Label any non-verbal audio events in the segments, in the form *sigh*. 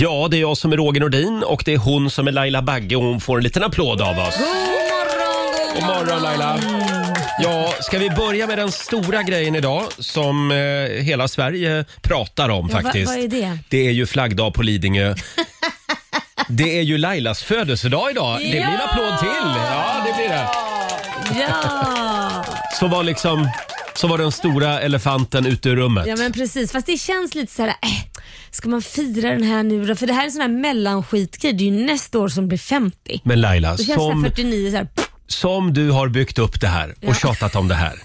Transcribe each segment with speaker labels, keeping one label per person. Speaker 1: Ja, det är jag som är Roger Nordin och det är hon som är Laila Bagge och hon får en liten applåd av oss. God morgon Laila! Ja, ska vi börja med den stora grejen idag som eh, hela Sverige pratar om
Speaker 2: Ja, va-
Speaker 1: faktiskt.
Speaker 2: vad är det?
Speaker 1: Det är ju flaggdag på
Speaker 2: *laughs*
Speaker 1: Lidingö. det är ju Lailas födelsedag idag. Det blir en
Speaker 2: Ja!
Speaker 1: applåd till. Ja, det blir det.
Speaker 2: Ja!
Speaker 1: Så var liksom, så var den stora elefanten ute ur rummet.
Speaker 2: ja, men precis. Fast det känns lite så här, äh, ska man fira den här nu då? För det här är en sån här mellanskitgrej. Det är ju nästa år som blir 50.
Speaker 1: Men Laila,
Speaker 2: Då känns som...
Speaker 1: som,
Speaker 2: 49 så här, pff,
Speaker 1: som du har byggt upp det här och
Speaker 2: Ja.
Speaker 1: tjatat om det här.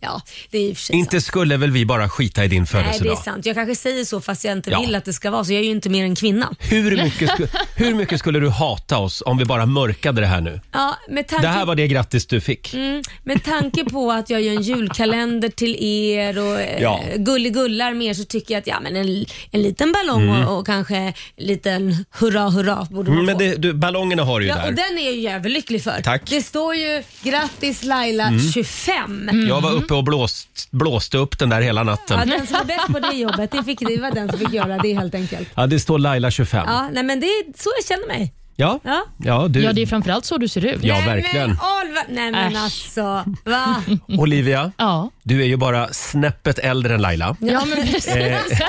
Speaker 2: ja det är i och för sig sant.
Speaker 1: Inte skulle väl vi bara skita i din
Speaker 2: Nej, det är
Speaker 1: födelsedag?
Speaker 2: sant. Jag kanske säger så fast jag inte
Speaker 1: Ja.
Speaker 2: vill att det ska vara så. Jag är ju inte mer än kvinna.
Speaker 1: Hur mycket, sku, hur mycket skulle du hata oss om vi bara mörkade det här nu?
Speaker 2: Ja, med tanke,
Speaker 1: Det här var det grattis du fick.
Speaker 2: mm, med tanke på att jag gör en julkalender till er och eh,
Speaker 1: Ja.
Speaker 2: gulligullar med er så tycker jag att ja, men en, en liten ballong och, och kanske en liten hurra hurra borde man
Speaker 1: Mm,
Speaker 2: få.
Speaker 1: Men det, du, ballongerna har du ju
Speaker 2: Ja, och
Speaker 1: där.
Speaker 2: den är jag ju överlycklig för.
Speaker 1: Tack. Mm.
Speaker 2: Det står ju “Grattis Laila 25”.
Speaker 1: Jag var uppe och blåst, blåste upp den där hela
Speaker 2: Mm. Ja,
Speaker 1: natten.
Speaker 2: den som var bäst på det jobbet, det, fick, det var den som fick göra det helt enkelt.
Speaker 1: Ja, det står Laila 25.
Speaker 2: Ja, nej, men det är så jag känner mig.
Speaker 1: Ja,
Speaker 2: Ja.
Speaker 1: ja, du,
Speaker 3: Ja, det är framförallt så du ser ut.
Speaker 1: ja
Speaker 2: nej,
Speaker 1: verkligen.
Speaker 2: Men, Oliver, nej men
Speaker 3: Äsch.
Speaker 2: alltså, va?
Speaker 1: Olivia,
Speaker 3: Ja.
Speaker 1: du är ju bara snäppet äldre än Laila. Eh,
Speaker 3: Ja,
Speaker 2: *laughs*
Speaker 3: men precis.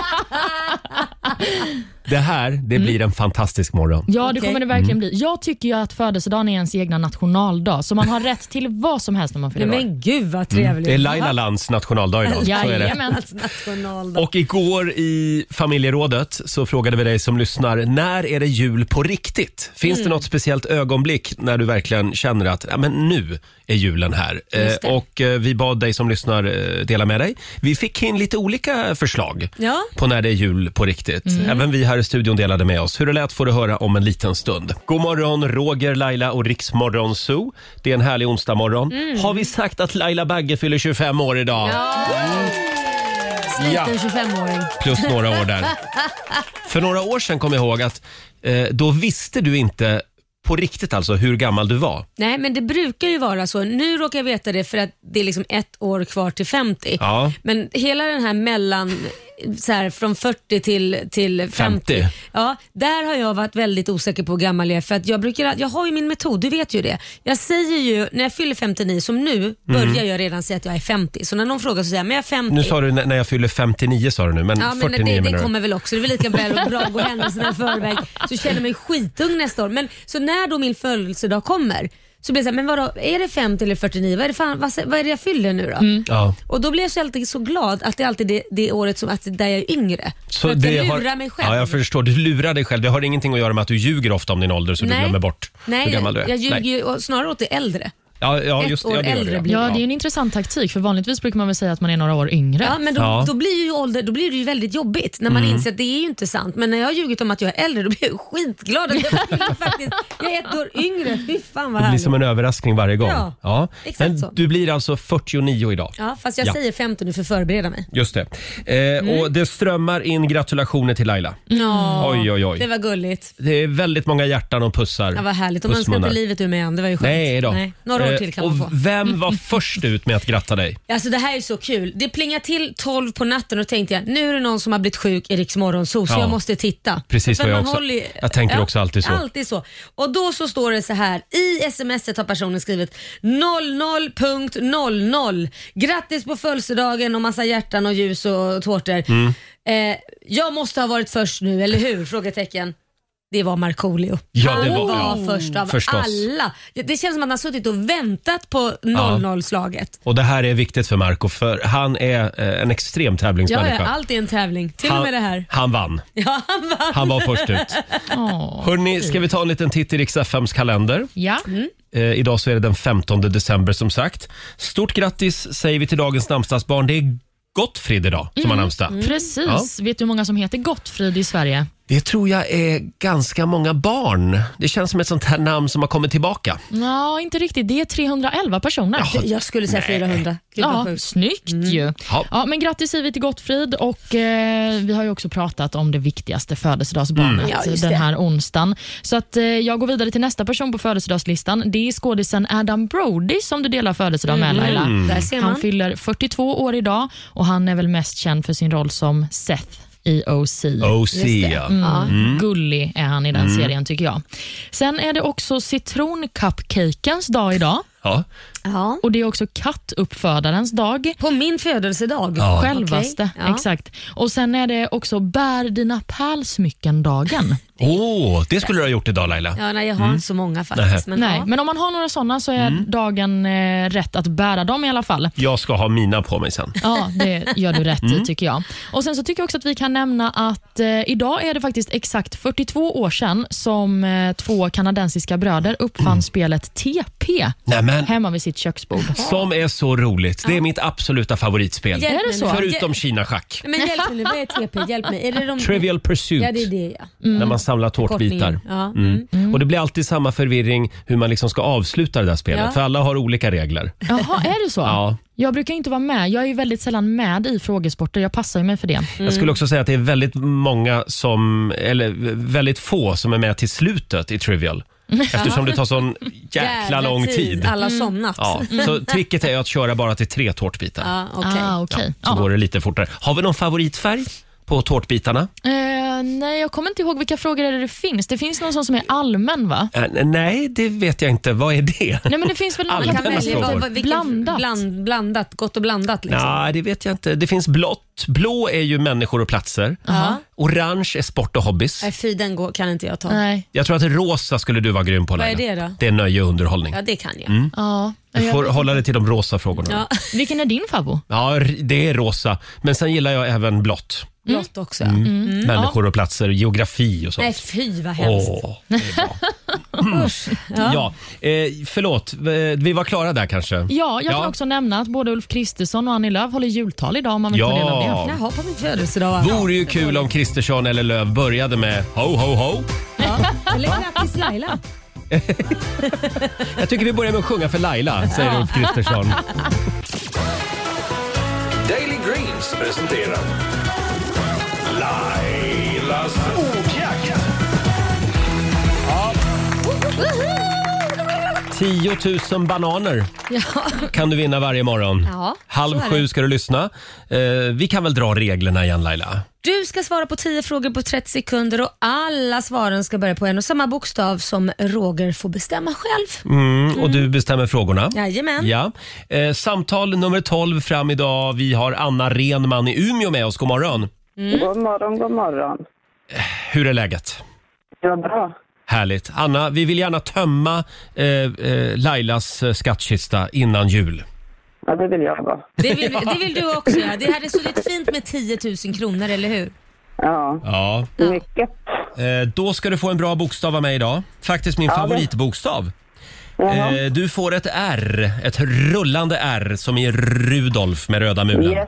Speaker 1: Det här, det blir en fantastisk morgon.
Speaker 3: Ja, det
Speaker 2: Okej.
Speaker 3: kommer det verkligen bli. Jag tycker ju att födelsedagen är ens egna nationaldag, så man har rätt till vad som helst när man
Speaker 2: Nej,
Speaker 3: fyller år.
Speaker 2: men gud vad trevligt.
Speaker 1: Mm. Det är Laila Lands nationaldag idag. Så är det.
Speaker 3: Jajamän.
Speaker 2: Alltså, nationaldag.
Speaker 1: Och igår i familjerådet så frågade vi dig som lyssnar, när är det jul på riktigt? Finns
Speaker 2: Mm.
Speaker 1: det något speciellt ögonblick när du verkligen känner att ja, men nu är julen här?
Speaker 2: Just det.
Speaker 1: Eh, och eh, vi bad dig som lyssnar eh, dela med dig. Vi fick in lite olika förslag
Speaker 2: Ja.
Speaker 1: på när det är jul på riktigt.
Speaker 2: Mm.
Speaker 1: Även vi här i studion delade med oss. Hur det lät får du höra om en liten stund. God morgon Roger, Laila och Riksmorgon Zoo. Det är en härlig onsdagmorgon.
Speaker 2: Mm.
Speaker 1: Har vi sagt att Laila Bagge fyller 25 år idag?
Speaker 2: Mm, Liten
Speaker 1: Ja.
Speaker 2: 25-åring.
Speaker 1: plus några år där. För några år sedan kom jag ihåg att eh, då visste du inte på riktigt alltså hur gammal du var.
Speaker 2: Nej, men det brukar ju vara så. Nu råkar jag veta det för att det är liksom ett år kvar till 50.
Speaker 1: Ja.
Speaker 2: Men hela den här mellan, så här, från 40 till, till 50,
Speaker 1: 50.
Speaker 2: Ja, där har jag varit väldigt osäker på hur gammal jag är. För att jag, brukar, jag har ju min metod, du vet ju det. Jag säger ju, när jag fyller 59, som
Speaker 1: Mm.
Speaker 2: nu, börjar jag redan säga att jag är 50. Så när någon frågar så säger jag, men jag är 50.
Speaker 1: Nu sa du när när jag fyller 59 sa du nu, men
Speaker 2: Ja, men
Speaker 1: 49
Speaker 2: det,
Speaker 1: menar
Speaker 2: det
Speaker 1: du.
Speaker 2: kommer väl också. Det är väl lika väl bra att gå händelserna i förväg. Så känner jag mig skitung nästa år. Men, så när då min födelsedag kommer så blir det så här, men vadå, är det 50 eller 49? Vad är det, fan, vad, vad är det jag fyller nu då?
Speaker 1: Ja.
Speaker 2: Och då blir jag så alltid så glad att det är alltid det, det året som att där jag är yngre.
Speaker 1: Så
Speaker 2: för att jag
Speaker 1: har-
Speaker 2: lurar mig själv.
Speaker 1: Ja, jag förstår. Du lurar dig själv. Det har ingenting att göra med att du ljuger ofta om din ålder så du
Speaker 2: Nej.
Speaker 1: glömmer bort hur
Speaker 2: Nej,
Speaker 1: gammal du är.
Speaker 2: jag ljuger
Speaker 1: Nej.
Speaker 2: ju och snarare åt det äldre.
Speaker 1: Ja, ja,
Speaker 2: ett
Speaker 1: just det.
Speaker 2: år
Speaker 1: Ja, det gör
Speaker 2: äldre
Speaker 1: du,
Speaker 2: blir
Speaker 3: Ja,
Speaker 1: ja.
Speaker 3: det är ju en intressant taktik, för vanligtvis brukar man väl säga att man är några år yngre.
Speaker 2: Ja, men då,
Speaker 1: Ja. Mm.
Speaker 2: då blir ju ålder, då blir det ju väldigt jobbigt när man inser att det är ju inte sant. Men när jag har ljugit om att jag är äldre, då blir jag ju skitglad att jag *laughs* fyller faktiskt, jag är ett år yngre. Fy fan vad
Speaker 1: Det blir
Speaker 2: härligt.
Speaker 1: som en överraskning varje gång.
Speaker 2: Ja, exakt
Speaker 1: Men
Speaker 2: så.
Speaker 1: du blir alltså 49 idag.
Speaker 2: Ja, fast jag
Speaker 1: Ja.
Speaker 2: säger 50 nu för att förbereda mig.
Speaker 1: Just det. Eh,
Speaker 2: Mm.
Speaker 1: Och det strömmar in gratulationer till Laila.
Speaker 2: Ja,
Speaker 1: Oj, oj, oj.
Speaker 2: Det var gulligt.
Speaker 1: Det är väldigt många hjärtan och pussar.
Speaker 2: Ja, vad härligt. Och man ska
Speaker 1: Pussmunnar.
Speaker 2: inte livet ur mig än. Det var ju skönt.
Speaker 1: Nej då.
Speaker 2: Några år
Speaker 1: Eh,
Speaker 2: till kan
Speaker 1: och
Speaker 2: man få.
Speaker 1: Vem
Speaker 2: *laughs*
Speaker 1: var först ut med att gratta dig?
Speaker 2: Alltså det här är så kul. Det plingade till 12 på natten och tänkte jag, nu är det någon som har blivit sjuk i Rix Morgonzoo så
Speaker 1: Ja.
Speaker 2: jag måste titta.
Speaker 1: Precis
Speaker 2: För
Speaker 1: vad jag
Speaker 2: man
Speaker 1: också-
Speaker 2: håller ju-
Speaker 1: jag tänker också alltid så.
Speaker 2: Alltid så. Och då så står det så här, i smset har personen skrivit 00.00. Grattis på födelsedagen och massa hjärtan och ljus och tårtor.
Speaker 1: Mm.
Speaker 2: Eh, jag måste ha varit först nu, eller hur? Frågetecken. Det var Markoolio.
Speaker 1: Ja,
Speaker 2: Han
Speaker 1: det var-
Speaker 2: var,
Speaker 1: ja.
Speaker 2: först av
Speaker 1: Förstås.
Speaker 2: alla. Det, det känns som att han har suttit och väntat på 00-slaget.
Speaker 1: Och det här är viktigt för Marco för han är eh, en extrem
Speaker 2: Ja,
Speaker 1: tävlingsmänniska.
Speaker 2: ja, allt är en tävling. Till och
Speaker 1: han,
Speaker 2: med det här.
Speaker 1: han vann.
Speaker 2: *laughs* Ja, han vann.
Speaker 1: Han var först ut.
Speaker 3: Åh.
Speaker 1: Hörni, ska vi ta en liten titt i riks FMs kalender?
Speaker 3: Ja.
Speaker 2: Mm.
Speaker 1: Eh, idag så är det den 15 december som sagt. Stort grattis säger vi till dagens namnsdagsbarn. Det är Gottfrid idag
Speaker 2: Mm.
Speaker 1: som har namnsdag.
Speaker 3: Precis. Vet du hur många som heter Gottfrid i Sverige?
Speaker 1: Det tror jag är ganska många barn. Det känns som ett sånt här namn som har kommit tillbaka.
Speaker 3: Ja, inte riktigt. Det är 311 personer.
Speaker 2: Jag skulle säga 400. Gud, vad
Speaker 3: Ja,
Speaker 2: sjukt. Mm.
Speaker 3: snyggt ju.
Speaker 1: Ja.
Speaker 3: Ja. men grattis säger vi till Gottfrid och eh, vi har ju också pratat om det viktigaste födelsedagsbarnet
Speaker 2: Mm. Ja, just
Speaker 3: den
Speaker 2: det.
Speaker 3: här onsdagen. Så att eh, jag går vidare till nästa person på födelsedagslistan. Det är skådisen Adam Brody som du delar födelsedag med
Speaker 2: Mm.
Speaker 3: Laila.
Speaker 2: Där ser
Speaker 3: Han
Speaker 2: man.
Speaker 3: fyller 42 år idag och han är väl mest känd för sin roll som Seth i OC.
Speaker 1: OC,
Speaker 2: Mm. Just det.
Speaker 1: ja.
Speaker 2: Ja.
Speaker 3: Gullig är han i den serien tycker jag. Sen är det också citronkappcakens dag idag
Speaker 1: ja.
Speaker 2: Ja.
Speaker 3: och det är också kattuppfödarens dag.
Speaker 2: På min födelsedag?
Speaker 1: Ja.
Speaker 3: Självaste,
Speaker 2: Okej, ja.
Speaker 3: exakt. Och sen är det också bär dina pärlsmycken-dagen.
Speaker 1: Åh, det skulle du ha gjort idag Laila.
Speaker 2: Ja, nej, jag har inte så många
Speaker 1: Nej.
Speaker 2: faktiskt. *laughs* Men,
Speaker 3: Nej,
Speaker 2: ja.
Speaker 3: men om man har några sådana så är
Speaker 1: Mm.
Speaker 3: dagen eh, rätt att bära dem i alla fall.
Speaker 1: Jag ska ha mina på mig
Speaker 2: *laughs*
Speaker 1: sen.
Speaker 3: Ja, det gör du rätt
Speaker 1: Mm.
Speaker 3: i tycker jag. Och Sen så tycker jag också att vi kan nämna att eh, idag är det faktiskt exakt 42 år sedan som eh, två kanadensiska bröder uppfann
Speaker 1: Mm.
Speaker 3: spelet TP
Speaker 1: Nämen,
Speaker 3: hemma vid
Speaker 1: *laughs*
Speaker 3: sitt köksbord.
Speaker 1: som är så roligt. Det är mitt absoluta favoritspel.
Speaker 2: Hjälp
Speaker 3: Är det
Speaker 2: mig
Speaker 3: så?
Speaker 2: nu.
Speaker 1: Förutom kina-schack.
Speaker 2: Men hjälp mig nu, vad är TP? Hjälp mig. Är det de...
Speaker 1: Trivial Pursuit.
Speaker 2: Ja, det är det Mm. ja.
Speaker 1: När man samlar tårtbitar.
Speaker 2: Kortningen. Ja.
Speaker 1: Mm. Och det blir alltid samma förvirring hur man liksom ska avsluta det där spelet.
Speaker 2: Ja.
Speaker 1: För alla har olika regler.
Speaker 3: Jaha, är det så?
Speaker 1: Ja.
Speaker 3: Jag brukar inte vara med. Jag är ju väldigt sällan med i frågesporter. Jag passar ju mig för det.
Speaker 2: Mm.
Speaker 1: Jag skulle också säga att det är väldigt många som, eller väldigt få som är med till slutet i
Speaker 2: *laughs*
Speaker 1: Trivial. Eftersom det tar sån jäkla lång tid.
Speaker 2: Alla har somnat.
Speaker 1: Ja, så tricket är ju att köra bara till tre tårtbitar.
Speaker 2: Ja, okej.
Speaker 3: Ah, okej.
Speaker 1: Så
Speaker 3: Ja.
Speaker 1: går det lite fortare. Har vi någon favoritfärg på tårtbitarna?
Speaker 3: Eh, nej, jag kommer inte ihåg vilka frågor är det, det finns. Det finns någon sån som är allmän, va?
Speaker 1: Eh, nej, det vet jag inte. Vad är
Speaker 2: *laughs*
Speaker 1: det?
Speaker 3: Nej, men det finns väl någon
Speaker 1: Allmänna
Speaker 2: Kan välja,
Speaker 1: frågor.
Speaker 2: vad, vad, vilken,
Speaker 3: Blandat.
Speaker 2: Bland, blandat. Gott och blandat liksom.
Speaker 1: Nej, det vet jag inte. Det finns blått. Blå är ju människor och platser.
Speaker 2: Ja.
Speaker 1: Orange är sport och hobbys.
Speaker 2: Nej, fy den går, kan inte jag ta.
Speaker 3: Nej.
Speaker 1: Jag tror att rosa skulle du vara grym på Laila.
Speaker 2: är det då?
Speaker 1: Det är nöje och underhållning.
Speaker 2: Ja, det kan jag.
Speaker 3: Ja.
Speaker 1: Du
Speaker 3: Jag-
Speaker 1: får hålla dig till de rosa frågorna.
Speaker 2: Ja.
Speaker 3: Vilken är din favvo?
Speaker 1: Ja, r- det är rosa. Men sen gillar jag även blått.
Speaker 2: Blått också
Speaker 1: Mm.
Speaker 2: ja.
Speaker 1: Människor och platser, geografi och
Speaker 2: Nej,
Speaker 1: sånt.
Speaker 2: fy vad hemskt.
Speaker 3: *laughs*
Speaker 1: Åh, det är bra. Mm. Ja. eh, förlåt, Eh, vi var klara där kanske?
Speaker 3: Ja, jag kan
Speaker 1: Ja.
Speaker 3: också nämna att både Ulf Kristersson och Annie Lööf håller jultal idag om man vill ta del av det.
Speaker 1: Ja.
Speaker 2: Jaha, på min födelsedag. va?
Speaker 1: Vore ju kul om Kristersson eller Löv började med ho, ho, ho.
Speaker 2: Ja. Eller grattis Laila.
Speaker 1: Jag tycker vi börjar med att sjunga för Laila, säger Ulf
Speaker 4: *laughs*
Speaker 1: Kristersson.
Speaker 4: Daily Greens presenterar Lailas ordjakt.
Speaker 1: 10 000 bananer kan du vinna varje morgon.
Speaker 2: Ja,
Speaker 1: Halv
Speaker 2: så är
Speaker 1: sju
Speaker 2: det.
Speaker 1: ska du lyssna. Eh, vi kan väl dra reglerna igen Laila?
Speaker 2: Du ska svara på 10 frågor på 30 sekunder och alla svaren ska börja på en och samma bokstav som Roger får bestämma själv.
Speaker 1: Mm. Och du bestämmer frågorna.
Speaker 2: Jajamän.
Speaker 1: Ja. Eh, samtal nummer 12 fram idag. Vi har Anna Renman i Umeå med oss. God morgon.
Speaker 5: God morgon, god morgon.
Speaker 1: Hur är läget?
Speaker 5: Det var bra.
Speaker 1: Härligt. Anna, vi vill gärna tömma eh, eh, Lailas eh, skattkista innan jul.
Speaker 5: Ja, det vill jag vara.
Speaker 2: Det, vill, det vill du också göra. Det hade suttit fint med 10 000 kronor, eller hur?
Speaker 5: Ja,
Speaker 1: Ja.
Speaker 5: mycket.
Speaker 1: Eh, då ska du få en bra bokstav av mig idag. Faktiskt min favoritbokstav.
Speaker 5: Jaha.
Speaker 1: Eh, du får ett R, ett rullande R som i Rudolf med röda mulen.
Speaker 5: Yes.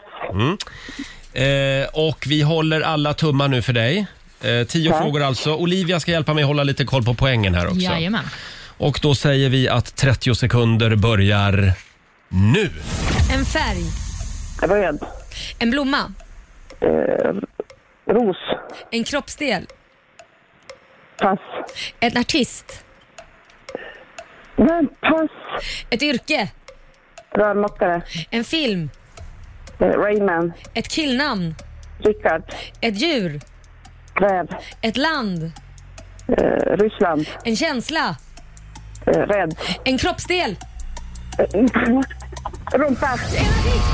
Speaker 1: Eh, och vi håller alla tummar nu för dig. Eh, tio
Speaker 5: Tack.
Speaker 1: frågor alltså. Olivia ska hjälpa mig hålla lite koll på poängen här också.
Speaker 3: Jajamän.
Speaker 1: Och då säger vi att 30 sekunder börjar nu.
Speaker 2: En färg,
Speaker 5: Röd.
Speaker 2: en blomma,
Speaker 5: Eh, ros.
Speaker 2: en kroppsdel,
Speaker 5: Pass.
Speaker 2: en artist,
Speaker 5: Men pass.
Speaker 2: ett yrke,
Speaker 5: Rörmokare.
Speaker 2: en film,
Speaker 5: Eh, Rayman.
Speaker 2: ett killnamn,
Speaker 5: Rickard.
Speaker 2: ett djur,
Speaker 5: Räv.
Speaker 2: ett land,
Speaker 5: Eh, Ryssland.
Speaker 2: en känsla,
Speaker 5: Eh, rädd. Eh, mm.
Speaker 2: en kroppsdel.
Speaker 5: Rumpa.
Speaker 2: Helvetes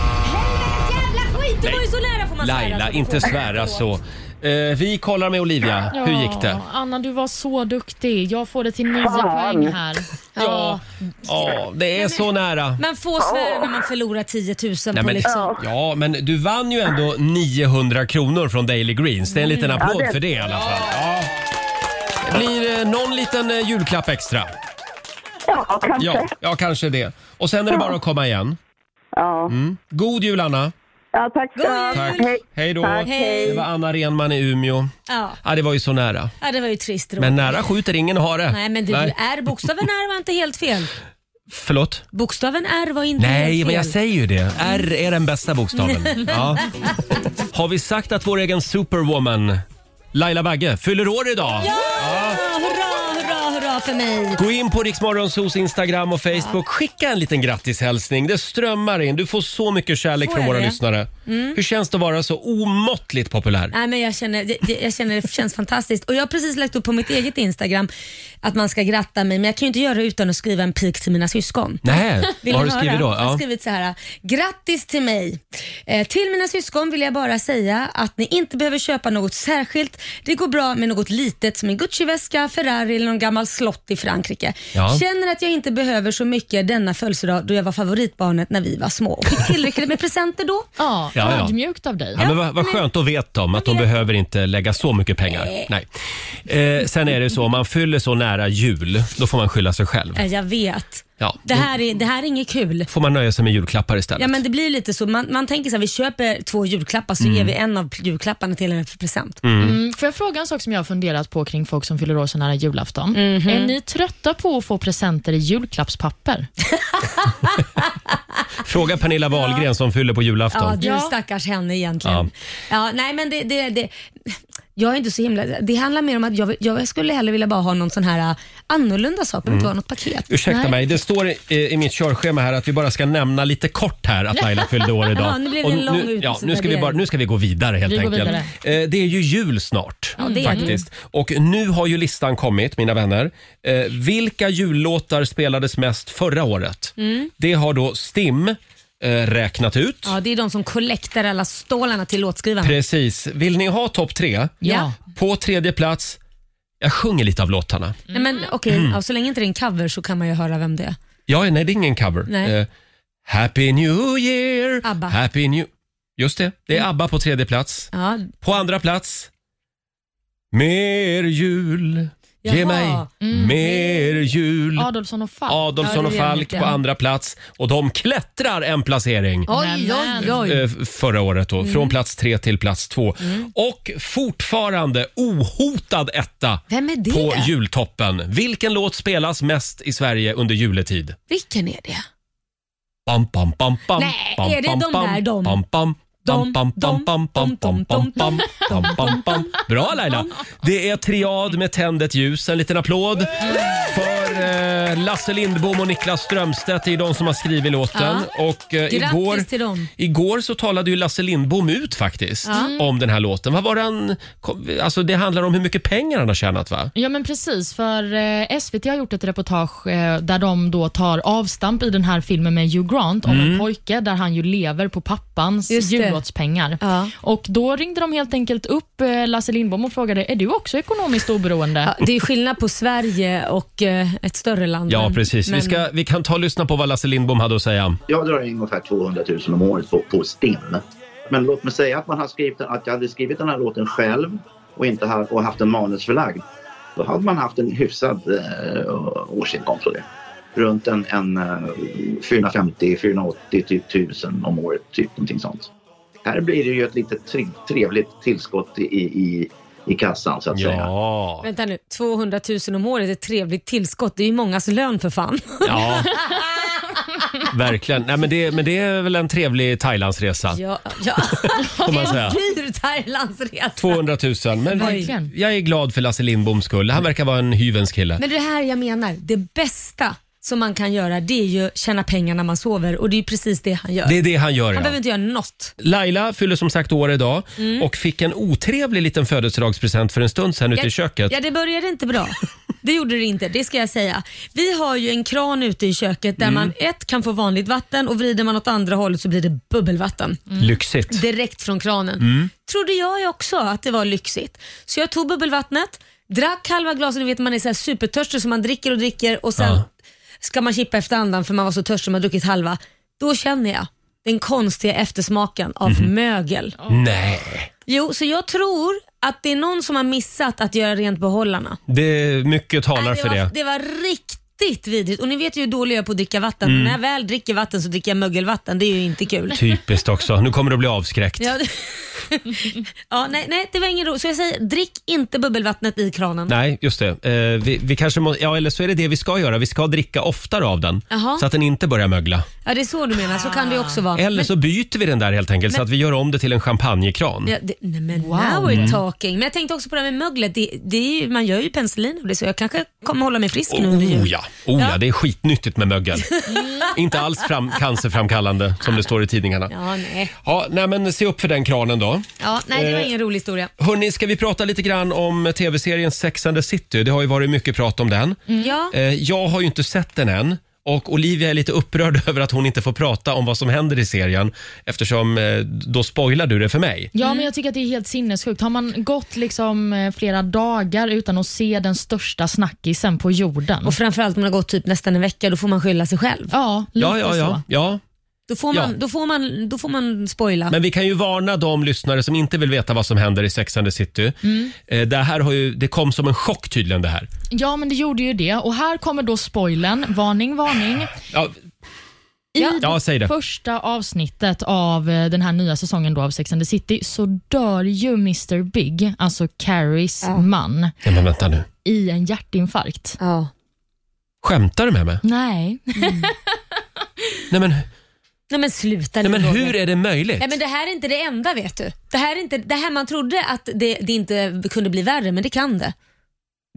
Speaker 2: jävla skit! Du var ju så nära får man Alltså, svära
Speaker 1: Laila,
Speaker 2: så.
Speaker 1: inte svära så. Eh, vi kollar med Olivia. Hur gick det?
Speaker 3: Ja, Anna, du var så duktig. Jag får det till nio
Speaker 5: Fan.
Speaker 3: poäng här.
Speaker 1: Ja, ja det är så nära.
Speaker 2: Man får svära när man förlorar 10 000
Speaker 1: Nej,
Speaker 2: på
Speaker 1: men,
Speaker 2: liksom...
Speaker 1: ja, men du vann ju ändå 900 kronor från Daily Greens. Det är en liten applåd
Speaker 5: Ja, det-
Speaker 1: för det i alla fall. Ja. Det blir eh, någon liten eh, julklapp extra.
Speaker 5: Ja, kanske.
Speaker 1: Ja,
Speaker 5: Ja.
Speaker 1: ja, kanske det. Och sen är det bara att komma igen.
Speaker 5: Ja,
Speaker 1: Mm. God jul, Anna!
Speaker 5: tack ska du ha.
Speaker 2: God
Speaker 1: Tack.
Speaker 5: Hej.
Speaker 1: Hej då!
Speaker 5: Tack,
Speaker 2: hej.
Speaker 1: Det var Anna Renman i Umeå.
Speaker 2: Ja.
Speaker 1: Ja, det var ju så nära.
Speaker 2: ja, det var ju trist Roger.
Speaker 1: Men nära skjuter ingen hare.
Speaker 2: Nej, men du, är bokstaven R var inte helt fel.
Speaker 1: Förlåt?
Speaker 2: Bokstaven R var inte helt
Speaker 1: Nej,
Speaker 2: fel.
Speaker 1: men jag säger ju det. R är den bästa bokstaven.
Speaker 2: *laughs*
Speaker 1: Ja. Har vi sagt att vår egen superwoman Laila Bagge fyller år idag?
Speaker 2: Ja, hurra, hurra, hurra. dag för mig.
Speaker 1: Gå in på Riksmorgonsos Instagram och Facebook. Skicka en liten grattishälsning. Det strömmar in. Du får så mycket kärlek
Speaker 2: Får
Speaker 1: från
Speaker 2: jag
Speaker 1: våra
Speaker 2: det? Mm.
Speaker 1: lyssnare. Hur känns det att vara så omåttligt populär?
Speaker 2: Nej, men jag känner, det- det- jag känner det känns fantastiskt. Och jag har precis lagt upp på mitt eget Instagram att man ska gratta mig, men jag kan ju inte göra det utan att skriva en pik till mina syskon.
Speaker 1: Nej,
Speaker 2: *laughs* Vill
Speaker 1: vad har
Speaker 2: ni
Speaker 1: du
Speaker 2: höra?
Speaker 1: skrivit då?
Speaker 2: Jag har
Speaker 1: Ja.
Speaker 2: skrivit så här. Grattis till mig. Eh, till mina syskon vill jag bara säga att ni inte behöver köpa något särskilt. Det går bra med något litet som en Gucci-väska, Ferrari eller någon gammal slott i Frankrike.
Speaker 1: Ja.
Speaker 2: Känner att jag inte behöver så mycket denna födelsedag då jag var favoritbarnet när vi var små och fick tillräckligt med presenter då.
Speaker 3: Ja,
Speaker 1: Ja, ja.
Speaker 3: ödmjukt av dig.
Speaker 1: Ja, men vad, vad skönt, då vet de att de behöver inte lägga så mycket pengar. Nej. Eh, sen är det så, om man fyller så nära jul, då får man skylla sig själv.
Speaker 2: Eh, Jag vet.
Speaker 1: Ja,
Speaker 2: Det här är, det här är inget kul.
Speaker 1: Får man nöja sig med julklappar istället.
Speaker 2: Ja men det blir lite så. Man, man tänker så här, vi köper två julklappar så
Speaker 1: Mm.
Speaker 2: ger vi en av julklapparna till henne för present.
Speaker 3: Mm, får jag fråga en sak som jag har funderat på kring folk som fyller år så nära julafton? Är ni trötta på att få presenter i julklappspapper?
Speaker 1: Fråga Pernilla Wahlgren som fyller på
Speaker 2: Ja,
Speaker 1: julafton.
Speaker 2: du
Speaker 3: Ja.
Speaker 2: stackars henne egentligen. Ja. nej men det, det, det, jag är inte så himla... Det handlar mer om att jag, vill- jag skulle hellre vilja bara ha någon sån här äh, annorlunda sak, behöver
Speaker 1: Mm.
Speaker 2: inte vara något paket.
Speaker 1: Ursäkta
Speaker 3: Nej.
Speaker 1: mig, det står i, i mitt körschema här att vi bara ska nämna lite kort här att Laila fyllde år idag.
Speaker 2: *laughs* Ja, nu blev
Speaker 1: Och
Speaker 2: det en lång
Speaker 1: nu, ja, nu, ska vi
Speaker 2: utvärdering.
Speaker 1: bara, nu ska vi gå vidare helt
Speaker 3: Vi går
Speaker 1: enkelt.
Speaker 3: vidare.
Speaker 1: Eh, det är ju jul snart
Speaker 2: det är
Speaker 1: faktiskt. Och nu har ju listan kommit, mina vänner. Eh, vilka jullåtar spelades mest förra året? Det har då Stim eh, räknat ut.
Speaker 2: Mm. Ja, det är de som kollektar alla stålarna till låtskrivarna.
Speaker 1: Precis. Vill ni ha topp tre?
Speaker 2: Ja.
Speaker 1: På tredje plats, jag sjunger lite av låtarna.
Speaker 2: Nej, men okej, ja, så länge inte det är en cover så kan man ju höra vem det är.
Speaker 1: Ja, nej, det är ingen cover.
Speaker 2: Nej.
Speaker 1: Eh, Happy New Year!
Speaker 2: ABBA. Mm.
Speaker 1: Happy New... Just det, det är ABBA på tredje plats.
Speaker 2: Ja,
Speaker 1: På andra plats, Mer jul, ge
Speaker 2: Jaha. Mm.
Speaker 1: mig mer jul.
Speaker 3: Adolfsson och Falk.
Speaker 1: Adolfsson
Speaker 2: Ja,
Speaker 1: och
Speaker 2: det vet
Speaker 1: Falk
Speaker 2: jag.
Speaker 1: på andra plats och de klättrar en placering.
Speaker 2: Oj, oj, oj. Mm.
Speaker 1: eh, förra året då, från plats tre till plats två. Och fortfarande ohotad etta
Speaker 2: Vem är det?
Speaker 1: på jultoppen. Vilken låt spelas mest i Sverige under juletid?
Speaker 2: Vilken är det?
Speaker 1: Bam, bam, bam, bam,
Speaker 2: Nej,
Speaker 1: bam,
Speaker 2: är det
Speaker 1: bam,
Speaker 2: de
Speaker 1: bam,
Speaker 2: där, de?
Speaker 1: Bam, bam. Bam,
Speaker 2: De,
Speaker 1: bam, bam,
Speaker 2: de,
Speaker 1: bam, bam, bam,
Speaker 2: de,
Speaker 1: bam,
Speaker 2: de,
Speaker 1: bam, bam, bam, bam. Bra Laila! Det är triad med tändet ljus. En liten applåd för eh, Lasse Lindbom och Niklas Strömstedt. Det är de som har skrivit låten. Och, eh,
Speaker 2: Grattis
Speaker 1: igår,
Speaker 2: till dem.
Speaker 1: Igår så talade ju Lasse Lindbom ut faktiskt om den här låten. Vad var det han, kom- alltså det handlar om hur mycket pengar han har tjänat va?
Speaker 3: Ja men precis, för eh, SVT har gjort ett reportage eh, där de då tar avstamp i den här filmen med Hugh Grant om en pojke där han ju lever på pappans
Speaker 2: Just det.
Speaker 3: jullåtspengar.
Speaker 2: Ja.
Speaker 3: Och då ringde de helt enkelt upp eh, Lasse Lindbom och frågade, är du också ekonomiskt oberoende?
Speaker 2: *laughs* Ja, det är skillnad på Sverige och eh, ett större land.
Speaker 1: Ja
Speaker 2: men-
Speaker 1: precis. Vi,
Speaker 2: men-
Speaker 1: ska, vi kan ta och lyssna på vad Lasse Lindbom hade att säga.
Speaker 6: Jag drar in ungefär 200 000 om året på, på STIM. Men låt mig säga att, man har skrivit, att jag hade skrivit den här låten själv och, inte ha, och haft en manusförlagd. Då hade man haft en hyfsad eh, årsinkomst på det. Runt en, en eh, 450-480 000 typ om året, typ någonting sånt. Här blir det ju ett litet tri- trevligt tillskott i, i, i kassan så att säga.
Speaker 1: Ja.
Speaker 2: Vänta nu, 200 000 om året är ett trevligt tillskott. Det är ju mångas lön för fan. *laughs*
Speaker 1: Ja. Verkligen. Nej, men, det, men det är väl en trevlig Thailandsresa.
Speaker 2: Ja, *laughs* ja.
Speaker 1: Får man
Speaker 2: Det är
Speaker 1: säga.
Speaker 2: en dyr Thailandsresa.
Speaker 1: 200 000. Men
Speaker 3: Verkligen.
Speaker 1: jag är glad för Lasse Lindboms skull. Han verkar vara en hyvens kille.
Speaker 2: Men det här jag menar, det bästa som man kan göra det är ju tjäna pengar när man sover och det är ju precis det han gör.
Speaker 1: Det är det han gör.
Speaker 2: han
Speaker 1: Ja.
Speaker 2: behöver Mm. inte göra något.
Speaker 1: Laila fyller som sagt år idag och fick en otrevlig liten födelsedagspresent för en stund sedan ute i köket.
Speaker 2: Ja, det började
Speaker 1: *laughs*
Speaker 2: inte bra. Det gjorde det inte, det ska jag säga. Vi har ju en kran ute i köket där
Speaker 1: Mm.
Speaker 2: man ett kan få vanligt vatten och vrider man åt andra hållet så blir det bubbelvatten.
Speaker 1: Lyxigt.
Speaker 2: direkt från kranen.
Speaker 1: Mm.
Speaker 2: Trodde jag ju också att det var lyxigt. Så jag tog bubbelvattnet, drack halva glaset, ni vet man är så här supertörstig så man dricker och dricker och sen
Speaker 1: Ja.
Speaker 2: ska man kippa efter andan för man var så törstig man har druckit halva. Då känner jag den konstiga eftersmaken av
Speaker 1: Mhm.
Speaker 2: mögel.
Speaker 1: Nej,
Speaker 2: Jo, så jag tror att det är någon som har missat att göra rent behållarna.
Speaker 1: det, mycket talar
Speaker 2: Nej,
Speaker 1: för
Speaker 2: var,
Speaker 1: det.
Speaker 2: det var riktigt vidrigt och ni vet ju hur dålig jag är på att dricka vatten.
Speaker 1: Mm.
Speaker 2: När jag väl dricker vatten så dricker jag mögelvatten. Det är ju inte kul.
Speaker 1: Typiskt också. Nu kommer du bli avskräckt.
Speaker 2: Ja, *laughs* ja, nej, nej, det var ingen ro. Så jag säger, drick inte bubbelvattnet i kranen.
Speaker 1: Nej, just det. Eh, vi, vi kanske må, ja, eller så är det det vi ska göra. Vi ska dricka oftare av den
Speaker 2: Jaha.
Speaker 1: så att den inte börjar mögla.
Speaker 2: Ja, det är så du menar. Så kan det ju också vara.
Speaker 1: Eller så byter vi den där helt enkelt så att vi gör om det till en champagnekran.
Speaker 2: Ja, det, nej men now
Speaker 1: Mm.
Speaker 2: we're talking. Men jag tänkte också på det här med möglet. Det, det är ju, man gör ju penicillin och det så jag kanske kommer hålla mig frisk nu under
Speaker 1: Oh
Speaker 2: jul.
Speaker 1: ja, oh ja,
Speaker 2: Ja.
Speaker 1: det är skitnyttigt med
Speaker 2: *laughs*
Speaker 1: mögel. Inte alls fram, cancerframkallande som det står i tidningarna.
Speaker 2: Ja, nej.
Speaker 1: Ja, nej, men se upp för den kranen då.
Speaker 2: Ja, nej, det var
Speaker 1: Eh.
Speaker 2: ingen rolig historia.
Speaker 1: Hörni, ska vi prata lite grann om tv-serien Sex and the City? Det har ju varit mycket prat om den.
Speaker 2: Ja,
Speaker 1: Eh, Jag har ju inte sett den än. Och Olivia är lite upprörd *laughs* över att hon inte får prata om vad som händer i serien eftersom eh, då spoilar du det för mig.
Speaker 3: Ja,
Speaker 2: Mm.
Speaker 3: men jag tycker att det är helt sinnessjukt. Har man gått liksom eh, flera dagar utan att se den största snackisen på jorden?
Speaker 2: och framförallt om man har gått typ nästan en vecka, då får man skylla sig själv.
Speaker 3: Ja, lite
Speaker 1: Ja, ja, ja,
Speaker 3: så.
Speaker 1: ja.
Speaker 2: Då får
Speaker 1: Ja.
Speaker 2: man, då får man, då får man spoila.
Speaker 1: Men vi kan ju varna de lyssnare som inte vill veta vad som händer i Sex and the City.
Speaker 2: Mm.
Speaker 1: Eh, Det här har ju, det kom som en chock tydligen det här.
Speaker 3: Ja, men det gjorde ju det. Och här kommer då spoilern. Varning, varning.
Speaker 1: Ja,
Speaker 3: I
Speaker 1: ja säg det.
Speaker 3: första avsnittet av eh, den här nya säsongen då av Sex and the City så dör ju Mr Big, alltså Carries man,
Speaker 1: Ja, men vänta nu.
Speaker 3: i en hjärtinfarkt.
Speaker 2: Ja.
Speaker 1: Skämtar du med mig?
Speaker 3: Nej.
Speaker 1: Nej men,
Speaker 2: Nej men sluta nu
Speaker 1: nej, men
Speaker 2: Roger.
Speaker 1: hur är det möjligt?
Speaker 2: Nej, men det här är inte det enda vet du. Det här, är inte, det här man trodde att det, det inte kunde bli värre, men det kan det.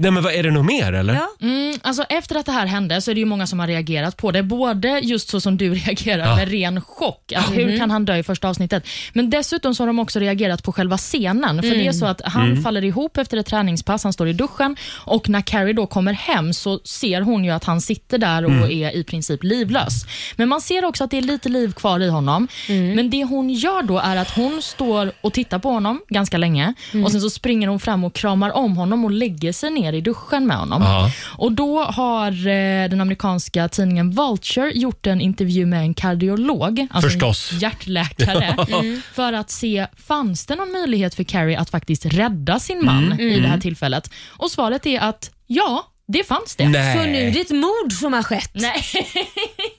Speaker 1: Nej men vad, är det något mer eller?
Speaker 2: Ja.
Speaker 3: Mm, alltså efter att det här hände så är det ju många som har reagerat på det. Både just så som du *laughs* reagerar
Speaker 1: Ja.
Speaker 3: med ren chock. Alltså, Hur kan han dö i första avsnittet? Men dessutom så har de också reagerat på själva scenen. För det är så att han
Speaker 1: Mm.
Speaker 3: faller ihop efter ett träningspass, han står i duschen och när Carrie då kommer hem så ser hon ju att han sitter där och
Speaker 1: Mm.
Speaker 3: är i princip livlös. Men man ser också att det är lite liv kvar i honom. Men det hon gör då är att hon står och tittar på honom ganska länge och sen så springer hon fram och kramar om honom och lägger sig ner i duschen med honom.
Speaker 1: Ja.
Speaker 3: Och Då har eh, den amerikanska tidningen Vulture gjort en intervju med en kardiolog, alltså
Speaker 1: Förstås. *laughs*
Speaker 3: en hjärtläkare, Mm. för att se fanns det någon möjlighet för Carrie att faktiskt rädda sin man
Speaker 1: Mm.
Speaker 3: i det här tillfället. Och Svaret är att ja, det fanns det.
Speaker 1: Nej.
Speaker 2: Så nu är det ett mord som har skett.
Speaker 3: Nej,
Speaker 2: *laughs*